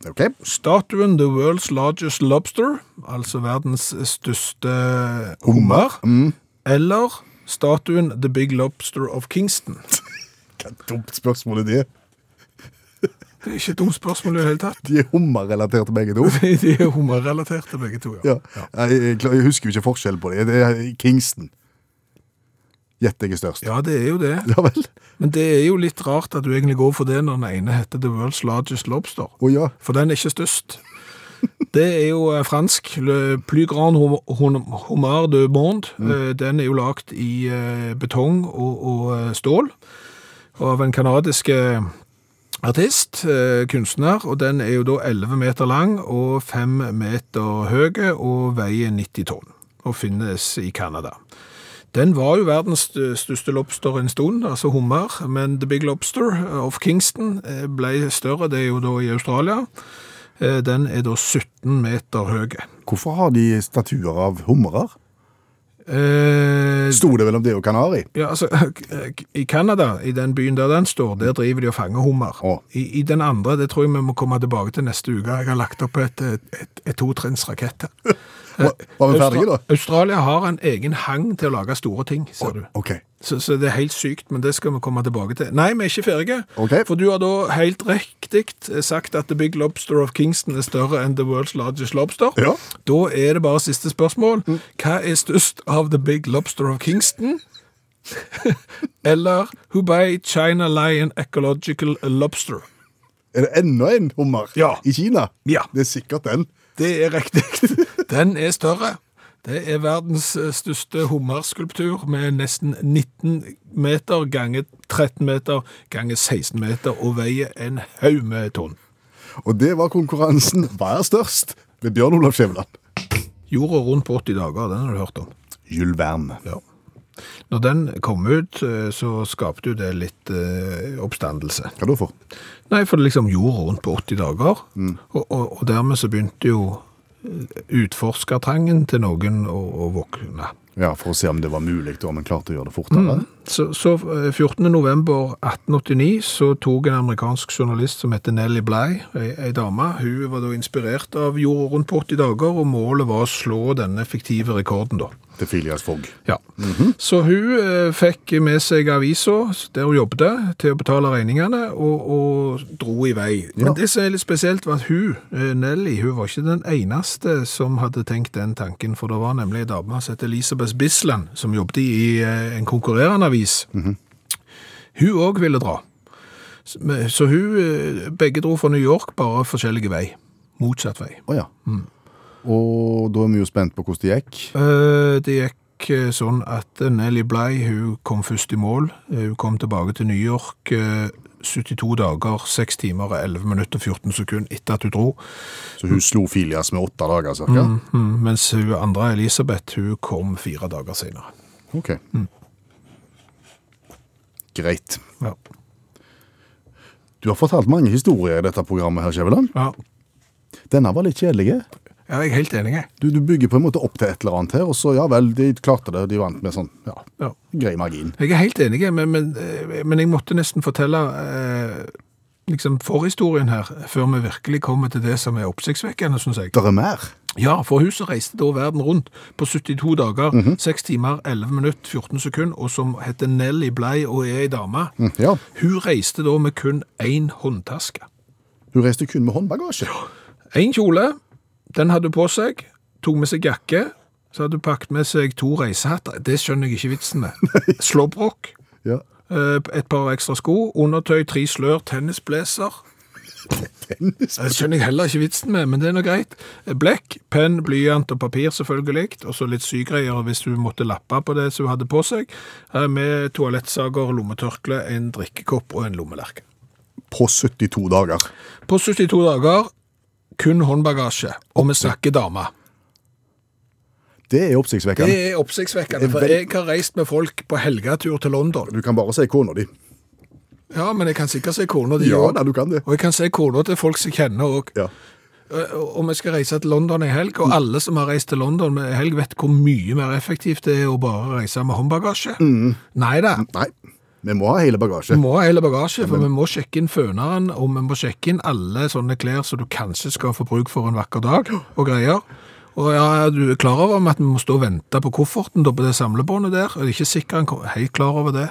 Ok, Statuen The World's Largest Lobster, altså verdens største hummer, mm. eller statuen The Big Lobster of Kingston. hva dumt spørsmål er det? Det er ikke et dumt spørsmål i det hele (laughs) tatt. De er hummerrelaterte begge to. De er hummerrelaterte begge to, ja. Ja. Jeg, jeg, klar- jeg husker jo ikke forskjell på det. Det er Kingston. Gjetter jeg er størst. Ja, det er jo det. (laughs) Ja vel. Men det er jo litt rart at du egentlig går for det når den ene heter The World's Largest Lobster. Å ja. For den er ikke størst. Det er jo eh, fransk. Le plus grand hum- hum- homard de monde. Eh, Den er jo lagd i eh, betong og, og eh, stål av en kanadisk eh, artist, eh, kunstner, og den er jo da 11 meter lang og 5 meter høy og veier 90 tonn og finnes i Canada. Den var jo verdens st- største lobster en stund, altså hummer, men The Big Lobster of Kingston eh, ble større, det er jo da i Australia. Eh, Den er da 17 meter høy. Hvorfor har de statuer av hummerer? Eh, Sto det vel om det og Kanari? Ja, altså, (laughs) I Canada, i den byen der den står, der driver de og fanger hummer. Å. I, I den andre, det tror jeg vi må komme tilbake til neste uke. Jeg har lagt opp et, et, et, et totrinns rakett her. Var, Eh, var vi ferdige da? Austra- Australia har en egen hang til å lage store ting, ser du. Ok. Så, så det er helt sykt, men det skal vi komme tilbake til. Nei, vi er ikke ferdige. Ok. For du har da helt riktig eh, sagt at The Big Lobster of Kingston er større enn The World's Largest Lobster. Ja. Da er det bare siste spørsmål. Hva er størst av The Big Lobster of Kingston? (laughs) Eller Hubei China Lion Ecological Lobster? Er det enda en hummer Ja. i Kina? Ja. Det er sikkert den. Det er riktig. (laughs) Den er større. Det er verdens eh, største hummerskulptur med nesten 19 meter ganger 13 meter ganger 16 meter og veier en haug med tonn. Og det var konkurransen Hva er størst? Med Bjørn Olav Skjæveland. Jorda rundt på 80 dager, den har du hørt om. Jules Verne. Ja. Når den kom ut, eh, så skapte jo det litt eh, oppstandelse. Hva da for? Nei, for det liksom jorda rundt på 80 dager, og, og, og dermed så begynte jo eh, utforskertrangen til noen å, å våkne. Ja, for å se om det var mulig, og om en klarte å gjøre det Mm. fortere. Så, så eh, 14. november 1889 så tok en amerikansk journalist som heter Nellie Bly, ei, ei dame, hun var da inspirert av jorda rundt på 80 dager, og målet var å slå denne fiktive rekorden da. til Phileas Fogg. Ja. Så hun eh, fikk med seg avisa der hun jobbet, til å betale regningene, og, og dro i vei. Ja. Men det som er litt spesielt, var at hun, eh, Nelly, hun var ikke den eneste som hadde tenkt den tanken, for det var nemlig en dame som het Elisabeth Bisland, som jobbet i eh, en konkurrerende avis. Hun òg ville dra. Så- men- Så hun eh, Begge dro fra New York, bare forskjellige vei. Motsatt vei. Å ja. Mm. Og da er vi jo spent på hvordan det gikk. Eh, Det gikk eh, sånn at Nelly Bly hun kom først i mål. Eh, Hun kom tilbake til New York eh, 72 dager, 6 timer, og 11 minutter og 14 sekunder etter at hun dro. Så hun slo Phileas med åtte dager, cirka. Mm, Mens hun andre, Elisabeth, hun kom fire dager senere. Ok. Greit. Ja. Du har fortalt mange historier i dette programmet, her, Skjæveland. ja. Denne var litt kjedelig. Ja, Jeg er helt enig, jeg. Du, du bygger på en måte opp til et eller annet her, og så ja vel, de klarte det. De vant med sånn ja, Ja. grei margin. Jeg er helt enig, men, men, eh, men jeg måtte nesten fortelle eh, liksom forhistorien her, før vi virkelig kommer til det som er oppsiktsvekkende, syns jeg. Det er mer. Ja, for huset reiste da verden rundt på 72 dager, 6 timer, 11 minutter, 14 sekunder, og som heter Nelly Blei og er ei dame. Mm, Ja, Hun reiste da med kun én håndtaske. Hun reiste kun med håndbagasje. Én kjole, den hadde hun på seg, tok med seg jakke, så hadde hun pakket med seg to reisehatter. Det skjønner jeg ikke vitsen med. Slåbrok, Ja. eh, et par ekstra sko, undertøy, tre slør, tennisblazer. Det skjønner jeg heller ikke vitsen med, men det er nå greit. Eh, Blekk, penn, blyant og papir selvfølgelig, og så litt sygreier hvis du måtte lappe på det som hun hadde på seg, eh, med toalettsager, lommetørkle, en drikkekopp og en lommelerke. På 72 dager. På 72 dager, kun håndbagasje, og vi snakker dame. Det er Det oppsiktsvekkende. er oppsiktsvekkende, for Vel- jeg har reist med folk på helgetur til London. Du kan bare si kona di. Ja, men jeg kan sikkert se kona di Ja også. da, du kan det. Og jeg kan se kona til folk som jeg kjenner òg. Ja. Og vi skal reise til London i helg, og alle som har reist til London med helg, vet hvor mye mer effektivt det er å bare reise med håndbagasje. Nei da. Nei, vi må ha Vi hele bagasje. må ha hele bagasje, for vi må sjekke inn føneren, og vi må sjekke inn alle sånne klær som du kanskje skal få bruk for en vakker dag, og greier. Og ja, du er klar over at vi må stå og vente på kofferten da, på det samlebåndet der? Jeg er ikke sikker han kom- helt klar over det.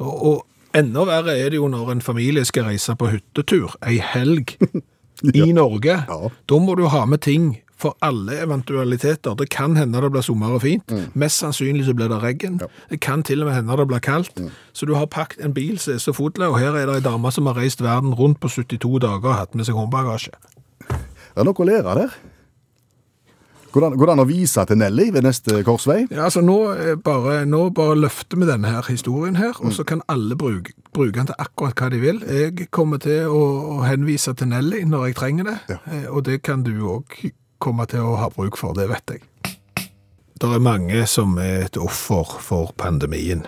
Og, og enda verre er det jo når en familie skal reise på hyttetur, ei helg, i Norge. Ja. Da må du ha med ting for alle eventualiteter. Det kan hende det blir sommer og fint. Mest sannsynlig så blir det regn. Det kan til og med hende det blir kaldt. Så du har pakket en bil som er så fotla, og her er det ei dame som har reist verden rundt på 72 dager og hatt med seg håndbagasje. Det er nok å lære der. Går det an- går det an å vise til Nelly ved neste korsvei? Ja, altså nå eh, bare, nå bare løfter vi denne her historien her, og så kan alle bruke, bruke den til akkurat hva de vil. Jeg kommer til å, å henvise til Nelly når jeg trenger det, eh, og det kan du òg komme til å ha bruk for, det vet jeg. Det er mange som er et offer for pandemien,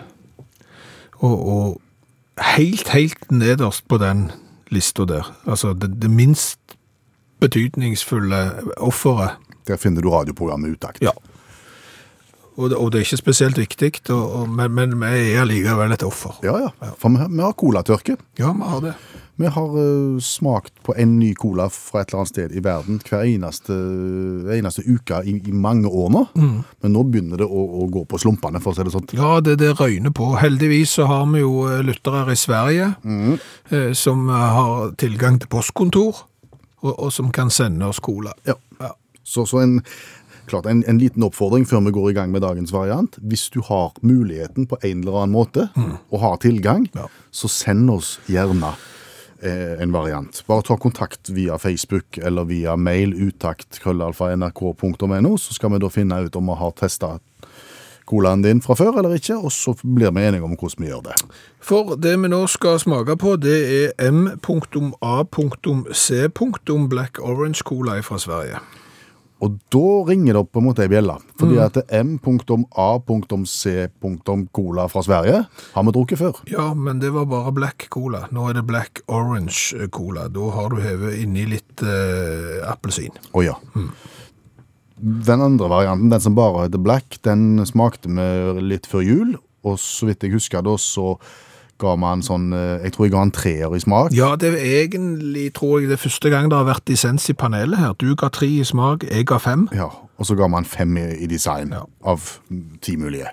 og, og helt, helt nederst på den lista der, altså det, det minst betydningsfulle offeret, Der finner du radioprogrammet Utakt. ja. Og det, og det er ikke spesielt viktig, og, og, men, men vi er allikevel et offer. ja, ja. For vi har, vi har colatørke. Ja, vi har det. Vi har eh, smakt på en ny cola fra et eller annet sted i verden hver eneste, eneste uke i, i mange år nå. Men nå begynner det å, å gå på slumpene, for å si det sånn. Mm. Ja, det, det røyner på. Heldigvis så har vi jo eh, lyttere i Sverige eh, som eh, har tilgang til postkontor, og, og som kan sende oss cola. Ja. Så, så en, klart, en, en liten oppfordring før vi går i gang med dagens variant. Hvis du har muligheten på en eller annen måte, og har tilgang, Ja. så send oss gjerne eh, en variant. Bare ta kontakt via Facebook eller via mail utakt.nrk.no, så skal vi da finne ut om vi har testa colaen din fra før eller ikke, og så blir vi enige om hvordan vi gjør det. For det vi nå skal smake på, det er M.A.C. Black Orange Cola fra Sverige. Og da ringer det opp på en måte ei bjelle. Fordi at m.a.c.cola fra Sverige har vi drukket før. Ja, men det var bare black cola. Nå er det black orange eh, cola. Da har du hevet inni litt eh, appelsin. Å ja. Mm. Den andre varianten, den som bare heter black, den smakte vi litt før jul. Og så vidt jeg husker da, så ga vi en sånn eh, Jeg tror jeg ga en treer i smak. Ja, det er egentlig, tror jeg, det er første gang det har vært dissens i panelet her. Du ga tre i smak, jeg ga fem. Ja, Og så ga man fem i, i design Ja. av ti mulige.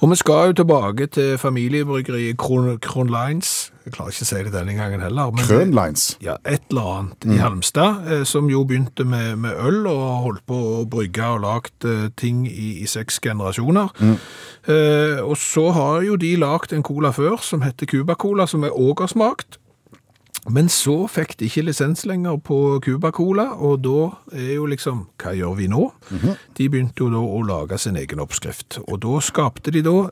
Og vi skal jo tilbake til familiebryggeriet Kron, Kron Lines. Jeg klarer ikke å si det denne gangen heller. men- Krønlines. Ja, et eller annet i Halmstad, eh, som jo begynte med, med øl og holdt på å brygge og lagt eh, ting i, i seks generasjoner. Eh, og så har jo de lagt en cola før som heter Cuba-cola, som jeg òg har smakt. Men så fikk de ikke lisens lenger på Cuba-cola, og da er jo liksom Hva gjør vi nå? De begynte jo da å lage sin egen oppskrift. Og da skapte de da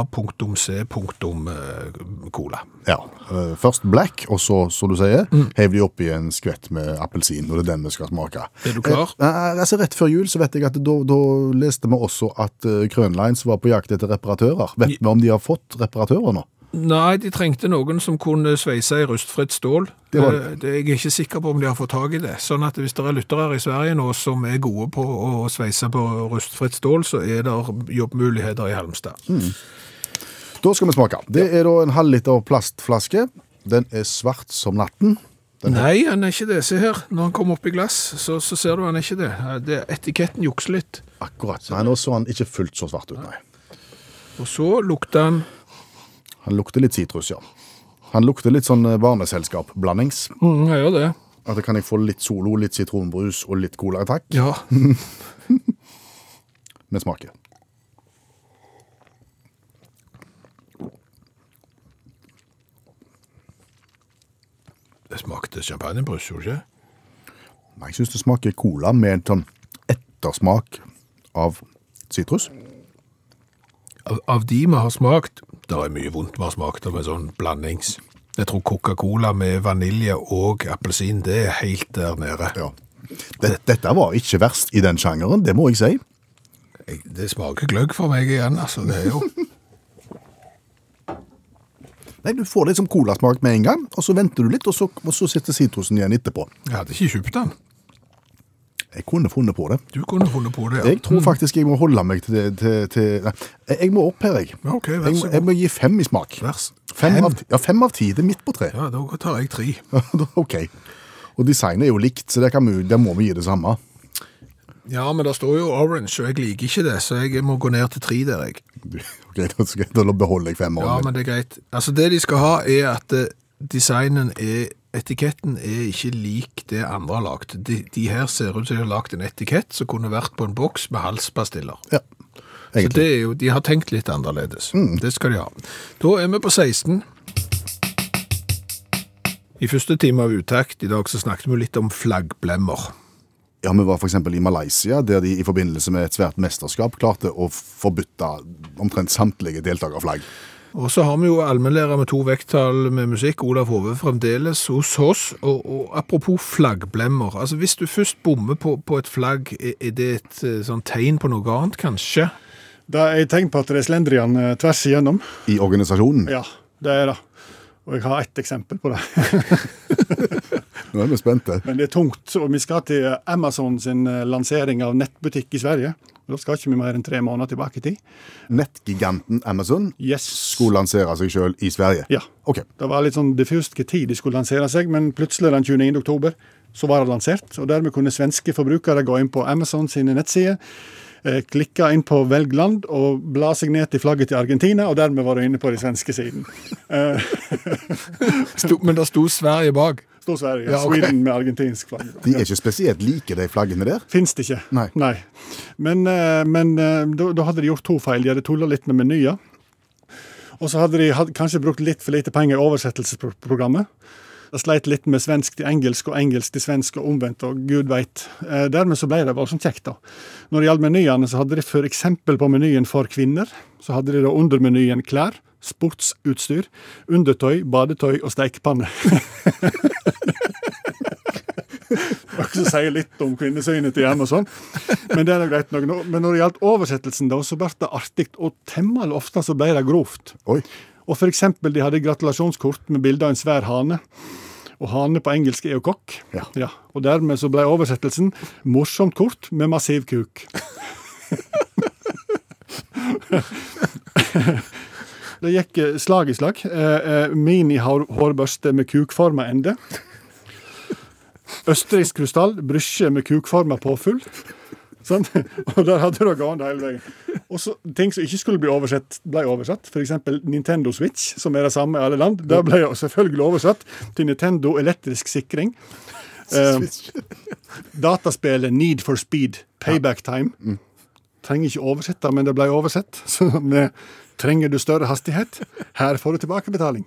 eh, M.A.C.cola. Ja. eh, Først black, og så, som du sier, Mm. heiv de oppi en skvett med appelsin. Og det er den vi skal smake. Er du klar? Eh, eh, altså Rett før jul så vet jeg at da, da leste vi også at eh, Krønlines var på jakt etter reparatører. Vet vi om de har fått reparatører nå? Nei, de trengte noen som kunne sveise i rustfritt stål. Det var det. Eh, det. Jeg er ikke sikker på om de har fått tak i det. Sånn at hvis det er lyttere i Sverige nå som er gode på å sveise på rustfritt stål, så er det jobbmuligheter i Halmstad. Da skal vi smake. Det er da en halvliter plastflaske. Den er svart som natten. Nei, han er ikke det. Se her, når han kommer opp i glass, så, så ser du han er ikke det. Eh, det etiketten jukser litt. Akkurat. Nei, nå så han ikke fullt så svart ut, nei. Og så lukter han Han lukter litt sitrus, ja. Han lukter litt sånn eh, barneselskap-blandings. mm, Jeg gjør det. At kan jeg få litt Solo, litt sitronbrus og litt cola, takk? Ja. Med smaker. Det smakte champagnebrus, gjorde det ikke? Nei, Jeg syns det smaker cola med en sånn ettersmak av sitrus. Av, av de vi har smakt, det er mye vondt vi har smakt av en sånn blandings. Jeg tror Coca-Cola med vanilje og appelsin, det er helt der nede. Ja. Det- Dette var ikke verst i den sjangeren, det må jeg si. Jeg, det smaker gløgg for meg igjen, altså. Det er jo (laughs) Nei, Du får litt sånn colasmak med en gang, og så venter du litt, og så, og så sitter sitrusen igjen etterpå. Jeg hadde ikke kjøpt den. Jeg kunne funnet på det. Du kunne funnet på det. ja. Mm. Jeg tror faktisk jeg må holde meg til, det- til, til nei, jeg- Jeg må opp her, jeg. Ja, ok, vær jeg, så må- god. jeg må gi fem i smak. Vær så- Fem Fem? av, ti- ja, fem av ti. Det er midt på tre. Ja, da tar jeg tre. (laughs) ok. Og designet er jo likt, så det, kan vi, det må vi gi det samme. (laughs) Ja, men det står jo orange, og jeg liker ikke det, så jeg må gå ned til tre der, jeg. Du- Ok, Da, skal, da beholder jeg femmeren. Ja, min. men det er greit. Altså, det de skal ha er at eh, designen er Etiketten er ikke lik det andre har lagt. De, de her ser ut som de har lagt en etikett som kunne vært på en boks med halspastiller. Ja, Så egentlig. det er jo, de har tenkt litt annerledes. Det skal de ha. Da er vi på 16. I første time av Utakt i dag så snakket vi litt om flaggblemmer. ja, Vi var f.eks. i Malaysia, der de i forbindelse med et svært mesterskap klarte å forbytte omtrent samtlige deltakerflagg. Og så har vi jo allmennlærer med to vekttall med musikk, Olav Hove, fremdeles hos oss. Og, og apropos flaggblemmer. altså Hvis du først bommer på, på et flagg, er, er det et eh, sånn tegn på noe annet, kanskje? Det er et tegn på at det er slendrian eh, tvers igjennom. I organisasjonen. Ja, det er det. Og jeg har ett eksempel på det. Nå er vi spente. Men det er tungt. Og vi skal til Amazon sin eh, lansering av nettbutikk i Sverige. Og Da skal ikke vi mer enn tre måneder tilbake i tid. Nettgiganten Amazon Yes. skulle lansere seg sjøl i Sverige. Ja. Ok. Det var litt sånn diffust hvilken tid de skulle lansere seg, men plutselig den 29. oktober så var det lansert. og Dermed kunne svenske forbrukere gå inn på Amazon sine nettsider, eh, klikke inn på 'velg land' og bla seg ned til flagget til Argentina, og dermed var du inne på den svenske siden. Eh, Sto, men det sto Sverige bak. Stå Sverige. Ja, ok. Sweden med argentinsk flagg. De er ikke spesielt like, de flaggene der. Fins det ikke. Nei. Men, eh, men eh, da, da hadde de gjort to feil. De hadde tulla litt med menyer. Og så hadde de hatt- kanskje brukt litt for lite penger i oversettelsesprogrammet. De sleit litt med svensk til engelsk og engelsk til svensk og omvendt, og gud veit. Eh, dermed så ble det voldsomt kjekt, da. Når det gjaldt menyene, så hadde de f.eks. på menyen for kvinner, så hadde de da under menyen klær, sportsutstyr, undertøy, badetøy og stekepanne. noe (laughs) som sier litt om kvinnesynet til Amazon. sånn. Men det er da greit nok. Nå- Men når det gjaldt oversettelsen, da, så ble det artig, og temmelig ofte så ble det grovt. Oi. Og for eksempel, de hadde gratulasjonskort med bilde av en svær hane. Og hane på engelsk er jo kokk. Ja. og dermed så ble oversettelsen 'morsomt kort med massiv kuk'. det gikk eh, slag i slag. Eh, eh, Mini-hårbørste med kukforma ende. Østerriksk krystall, brysje med kukforma påfyll. Sant? Sånn. (laughs) Og der hadde det gående hele veien. Og så ting som ikke skulle bli oversett, ble oversatt. F.eks. Nintendo Switch, som er det samme i alle land. Der ble jo selvfølgelig oversatt til Nintendo elektrisk sikring. Eh, dataspillet Need for Speed, Payback Time. Trenger ikke oversette, men det ble oversett. (laughs) Så med Trenger du større hastighet? Her får du tilbakebetaling.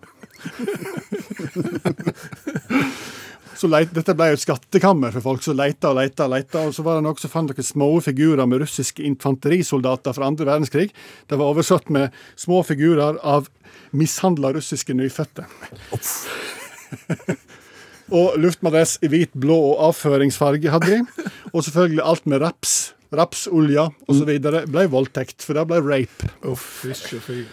(laughs) Så leit, dette ble jo et skattekammer for folk som leita og leita. Og leita, og så var det noen som fant noen små figurer med russiske infanterisoldater fra andre verdenskrig. Det var oversatt med små figurer av mishandla russiske nyfødte. og luftmadrass i hvit, blå og avføringsfarge hadde de. Og selvfølgelig alt med raps, rapsolje osv. ble voldtekt, for det ble rape. Mm. Uff, fysj og fy.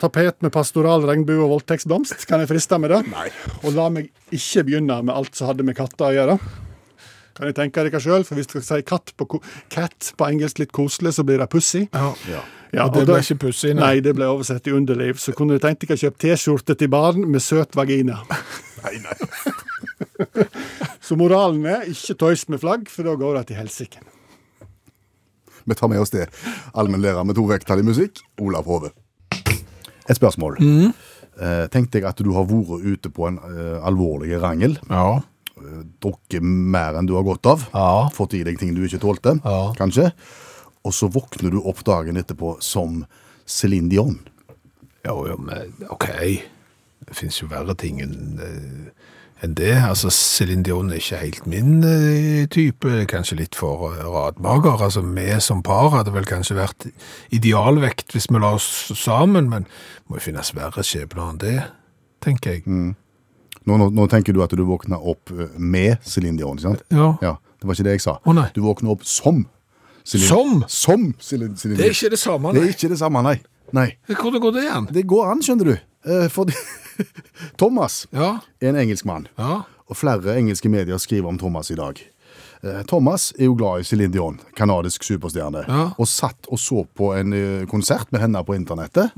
Tapet med pastoral regnbue og voldtektsblomst. Kan jeg friste med det? Nei. Og la meg ikke begynne med alt som hadde med katter å gjøre. Kan jeg tenke dere sjøl, for hvis dere sier katt på, ko- cat på engelsk litt koselig, så blir det pussy. Ja. Ja, Og det og ble da- ikke pussig, nei. Nei, det ble oversett i underliv. Så kunne dere tenkt dere å kjøpe T-skjorte til barn med søt vagina. Nei, nei. Så moralen er ikke tøys med flagg, for da går det til helsike. Vi tar med oss det. Allmennlærer med to vekttall i musikk, Olav Hove. Et spørsmål. Eh, Tenk deg at du har vært ute på en eh, alvorlig rangel, Ja. drukket mer enn du har godt av, Ja. fått i deg ting du ikke tålte, Ja. kanskje, og så våkner du opp dagen etterpå som Céline Dion. Jo, jo, men OK. Det fins jo verre ting enn eh, enn det. Altså, Céline Dion er ikke helt min eh, type. Kanskje litt for eh, radmager. Altså, vi som par hadde vel kanskje vært idealvekt hvis vi la oss sammen, men det må jo finnes verre skjebner enn det, tenker jeg. Mm. Nå, nå, nå tenker du at du våkner opp eh, med Céline Dion, ikke sant? Ja. Ja, det var ikke det jeg sa. Å, nei. Du våkner opp som Céline Som? Som Céline, Céline Det er ikke det samme, Det nei. er ikke det samme, nei. Nei. Hvordan går det igjen? Det går an, skjønner du. Eh, Fordi (laughs) Thomas Ja. er en engelskmann, Ja. og flere engelske medier skriver om Thomas i dag. Eh, Thomas er jo glad i Céline Dion, kanadisk superstjerne, Ja. og satt og så på en eh, konsert med henne på internettet,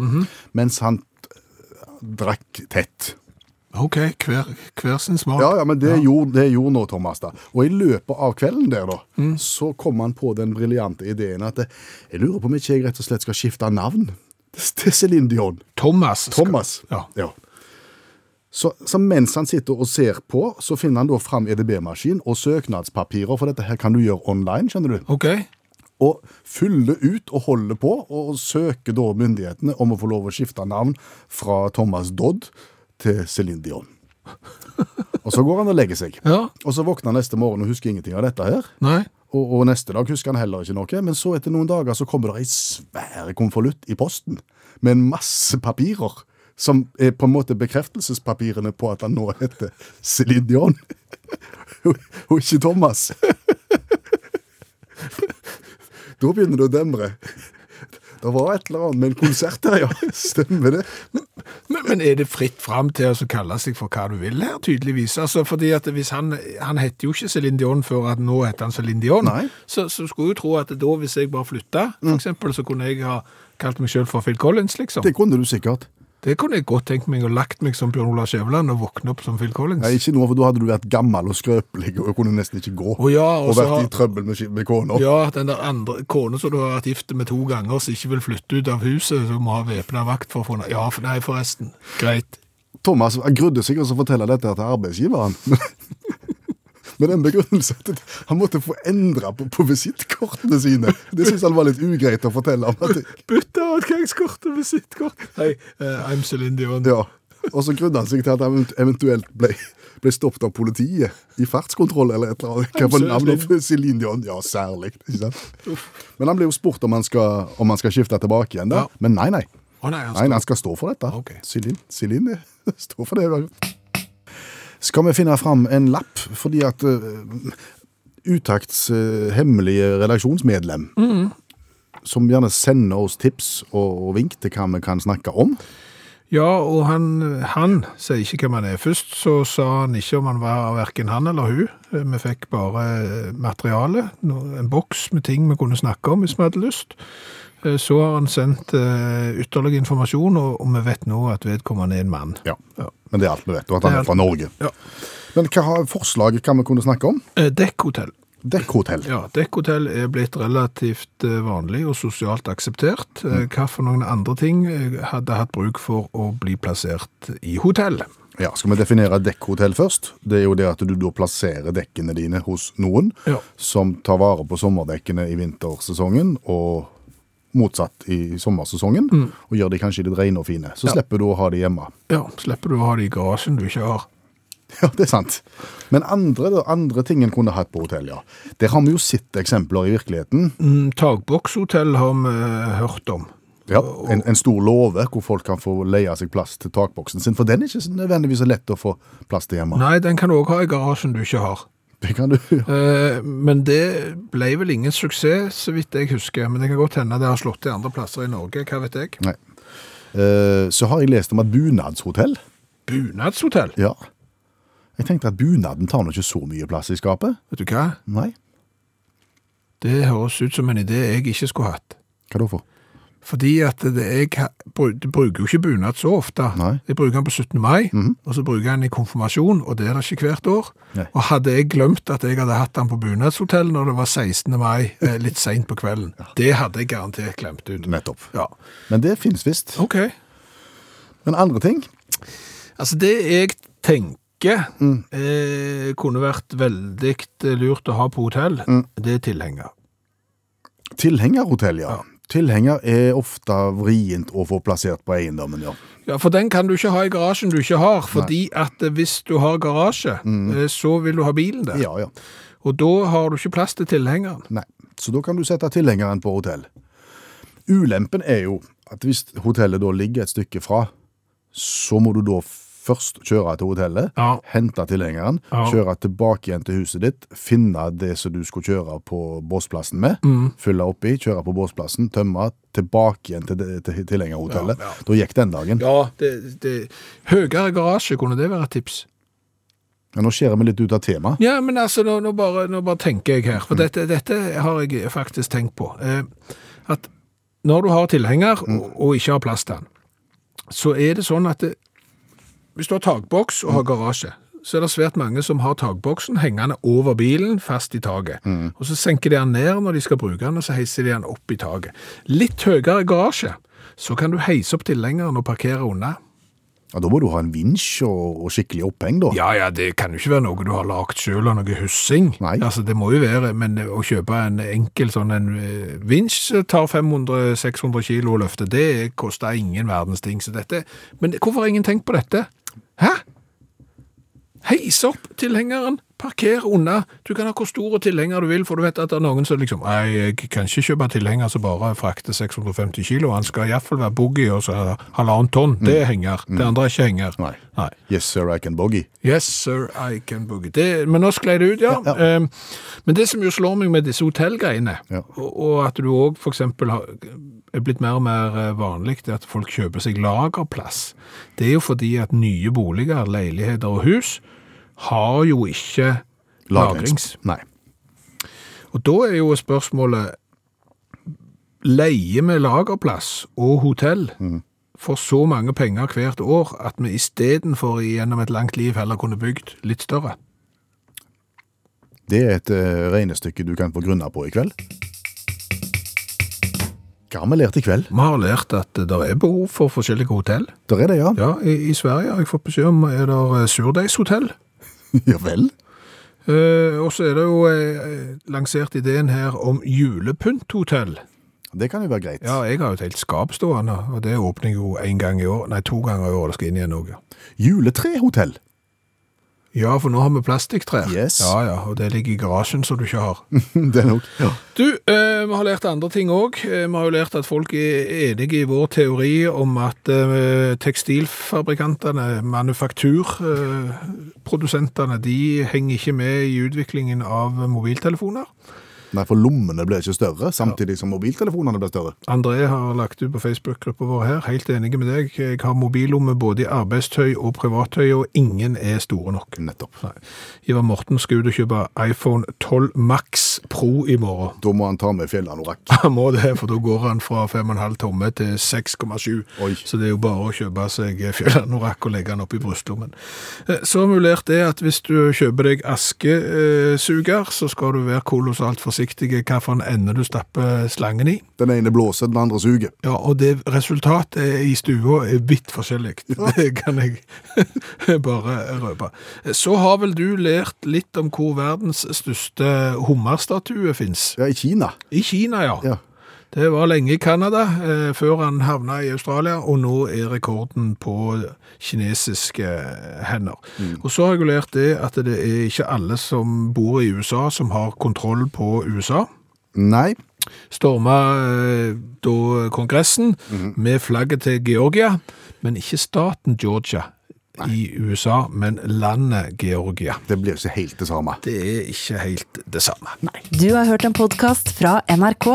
mens han eh, drakk tett. OK, hver, hver sin smak. Ja, ja, men det, Gjorde, det gjorde nå Thomas, da. Og i løpet av kvelden der, da, så kom han på den briljante ideen at eh, jeg lurer på om ikke jeg rett og slett skal skifte navn til Céline Dion. Thomas. skal- Thomas. Ja. Så, så mens han sitter og ser på, så finner han da fram EDB-maskin og søknadspapirer, for dette her kan du gjøre online, skjønner du. OK. Og fyller ut og holder på, og søker da myndighetene om å få lov å skifte navn fra Thomas Dodd til Céline Dion. Og så går han og legger seg. Ja. Og så våkner han neste morgen og husker ingenting av dette her. Nei. Og, og neste dag husker han heller ikke noe, men så etter noen dager så kommer det ei svær konvolutt i posten med en masse papirer, som er på en måte bekreftelsespapirene på at han nå heter Céline Dion. (laughs) og ikke Thomas. (laughs) da begynner det å demre. Det var et eller annet med en konsert her, ja. Stemmer det? Men, men er det fritt fram til å så kalle seg for hva du vil her, tydeligvis? Altså, fordi at hvis han, han heter jo ikke Céline Dion før at nå heter han Céline Dion. Nei. Mm. Så, så skulle jeg jo tro at da, hvis jeg bare flytta, for eksempel, så kunne jeg ha kalt meg selv for Phil Collins, liksom. Det Det, kunne du sikkert. kunne jeg godt tenkt meg, og lagt meg som Bjørn Olav Skjæveland og våkne opp som Phil Collins. Nei, ikke nå, for da hadde du vært gammel og skrøpelig og kunne nesten ikke gå. Å ja, og og så vært har- i trøbbel med, med kona. Ja, den der andre kone som du har vært gift med to ganger, som ikke vil flytte ut av huset, som må ha væpna vakt for å få Ja, for- nei, forresten. Greit. Thomas grudde seg også å fortelle dette til arbeidsgiveren. (laughs) Med den begrunnelsen at han måtte få endra på, på visittkortene sine. Det syntes han var litt ugreit å fortelle om. At, Bytte adgangskort og visittkort. Hei, eh, I'm Céline Dion. ja. Og så grudde han seg til at han eventuelt ble, ble stoppet av politiet i fartskontroll eller et eller annet. Hva var navnet for Céline Dion? Ja, særlig. Ikke sant? Men han ble jo spurt om han skal, om han skal skifte tilbake igjen, da. Ja. Men nei, nei. Å nei, han Nei, nei, han skal stå for dette. Ok. Silin, Silin (laughs) står for det. Skal vi finne fram en lapp, fordi at eh, Utakts eh, hemmelige redaksjonsmedlem, som gjerne sender oss tips og, og vink til hva vi kan snakke om. Ja, og han, han sier ikke hvem han er. Først så sa han ikke om han var hverken han eller hun. Vi fikk bare eh, materiale, no- en boks med ting vi kunne snakke om hvis vi hadde lyst. Eh, Så har han sendt eh, ytterligere informasjon, og, og vi vet nå at vedkommende er en mann. Ja. Men det er alt vi vet, og at han Det er er fra Norge. Ja. Men hva har forslaget hva vi kunne snakke om? Eh, Dekkhotell. Dekkhotell. Ja, dekkhotell er blitt relativt eh, vanlig og sosialt akseptert. Eh, Hva for noen andre ting eh, hadde hatt bruk for å bli plassert i hotell? Ja, Skal vi definere dekkhotell først? Det er jo det at du da plasserer dekkene dine hos noen Ja. som tar vare på sommerdekkene i vintersesongen, og motsatt i sommersesongen. Mm. Og gjør de kanskje litt rene og fine. Så slipper du å ha de hjemme. (laughs) Ja, slipper du å ha det i garasjen du ikke har. Ja, det er sant. Men andre, da, andre ting en kunne hatt på hotell, ja. Der har vi jo sett eksempler i virkeligheten. Mm, Takbokshotell har vi eh, hørt om. Ja, en, en stor låve hvor folk kan få leie seg plass til takboksen sin. For den er ikke så nødvendigvis så lett å få plass til hjemme. Nei, den kan du òg ha i garasjen du ikke har. Det kan du gjøre. Eh, Men det ble vel ingen suksess, så vidt jeg husker. Men det kan godt hende det har slått til andre plasser i Norge. Hva vet jeg? Nei. Eh, Så har jeg lest om et bunadshotell. Bunadshotell? Ja. Jeg tenkte at bunaden tar nå ikke så mye plass i skapet. Vet du hva? Nei. Det høres ut som en idé jeg ikke skulle hatt. Hva da for? Fordi at det, jeg ha- bru- jeg bruker jo ikke bunad så ofte. Nei. Mhm. Jeg bruker den på 17. mai, og så bruker jeg den i konfirmasjon, og det er det ikke hvert år. Nei. Og hadde jeg glemt at jeg hadde hatt den på bunadshotell når det var 16. mai, (laughs) eh, litt sent på kvelden, det hadde jeg garantert glemt ut. Nettopp. Ja, Men det finnes visst. ok. Men andre ting? Altså, det jeg tenker Mm. eh, kunne vært veldig eh, lurt å ha på hotell, Mm. det er tilhenger. Tilhengerhotell, ja. Tilhenger er ofte vrient å få plassert på eiendommen, ja. Ja, for den kan du ikke ha i garasjen du ikke har, fordi at eh, hvis du har garasje, Mm. eh, så vil du ha bilen der. Ja, ja. Og da har du ikke plass til tilhengeren. Nei. Så da kan du sette tilhengeren på hotell. Ulempen er jo at hvis hotellet da ligger et stykke fra, så må du da først kjøre til hotellet, Ja. hente tilhengeren, Ja. kjøre tilbake igjen til huset ditt, finne det som du skulle kjøre på båsplassen med, Mm. fylle oppi, kjøre på båsplassen, tømme, tilbake igjen til, det- til tilhengerhotellet. Ja, ja. Da gikk den dagen. Ja, det, det, høyere garasje, kunne det være et tips? Men nå skjærer vi litt ut av temaet. Ja, men altså, nå, nå, bare, nå bare tenker jeg her, for dette, dette har jeg faktisk tenkt på. Eh, at når du har tilhenger og, og ikke har plass til den, så er det sånn at det, hvis du har takboks og har garasje, så er det svært mange som har takboksen hengende over bilen, fast i taget. Og så senker de den ned når de skal bruke den, og så heiser de den opp i taget. Litt høyere garasje, så kan du heise opp tilhengeren og parkere unna. Ja, da må du ha en vinsj og, og skikkelig oppheng da. Ja, ja, det kan jo ikke være noe du har lagt selv og noe hussing. Nei. Altså, det må jo være, men å kjøpe en enkel sånn en eh, vinsj som tar 500-600 kilo og løfte, det koster ingen verdens ting. Så dette, men hvorfor har ingen tenkt på dette? Hæ? Heis opp tilhengeren, parker unna. Du kan ha hvor stor tilhenger du vil, for du vet at det er noen som liksom, nei, jeg kan ikke kjøpe tilhenger som bare frakter 650 kilo. Han skal i hvert fall være boogie og så halvannen tonn. Det er henger. Det andre er ikke henger. Mm. Nei. Nei. Yes, sir, I can boggy. Yes, sir, I can boogie. Det, men nå sklei det ut, ja. Ja, Ehm, men det som jo slår meg med disse hotellgreiene, Ja. og, og at du òg f.eks. er blitt mer og mer eh, vanlig det at folk kjøper seg lagerplass, det er jo fordi at nye boliger, leiligheter og hus har jo ikke lagrings. Nei. Og da er jo spørsmålet Leier vi lagerplass og hotell Mm. for så mange penger hvert år at vi istedenfor gjennom et langt liv heller kunne bygd litt større? Det er et eh, regnestykke du kan få grunna på i kveld. Hva har vi lært i kveld? Vi har lært at det er behov for forskjellige hotell. Der er det, ja. Ja, I, i Sverige har jeg fått beskjed om er det eh, surdeigshotell. (laughs) Ja vel. Eh, og så er det jo eh, lansert ideen her om julepynthotell. Det kan jo være greit. Ja, jeg har jo et helt skap stående, og det åpner jeg jo én gang i år. Nei, to ganger i år. Det skal inn igjen noe. Juletrehotell. Ja, for nå har vi plastikktrær. Yes. Ja, ja, og det ligger i garasjen som du ikke har. (laughs) det er nok. Ja. Du, eh, vi har lært andre ting òg. Eh, vi har jo lært at folk er enige i vår teori om at eh, tekstilfabrikantene, manufakturprodusentene, eh, produsentene, de henger ikke med i utviklingen av mobiltelefoner. Nei, for lommene blir ikke større, samtidig som mobiltelefonene blir større. André har lagt ut på Facebook-gruppa vår her, helt enige med deg. Jeg har mobillomme både i arbeidstøy og privattøy, og ingen er store nok. Nettopp. Nei. Ivar Morten skal ut og kjøpe iPhone 12 Max Pro i morgen. Da må han ta med fjellanorakk. Han må det, for da går han fra 5,5 tomme til 6,7. Oi. Så det er jo bare å kjøpe seg fjellanorakk og legge den opp i brystlommen. Eh, Så mulert er at hvis du kjøper deg askesuger, så skal du være kolossalt forsiktig i hvilken ende du stapper slangen i. Den ene blåser, den andre suger. Ja, og det resultatet i stua er vidt forskjellig. (laughs) Det kan jeg bare røpe. Så har vel du lært litt om hvor verdens største hummerstatue fins? Ja, i Kina. I Kina, ja. Ja. Det var lenge i Canada, eh, før han havna i Australia, og nå er rekorden på kinesiske eh, hender. Og så har jeg jo lært det at det er ikke alle som bor i USA som har kontroll på USA Nei. storma eh, da kongressen med flagget til Georgia, men ikke staten Georgia i USA, men landet Georgia. Det blir ikke helt det samme. Det er ikke helt det samme. Du har hørt en podkast fra NRK.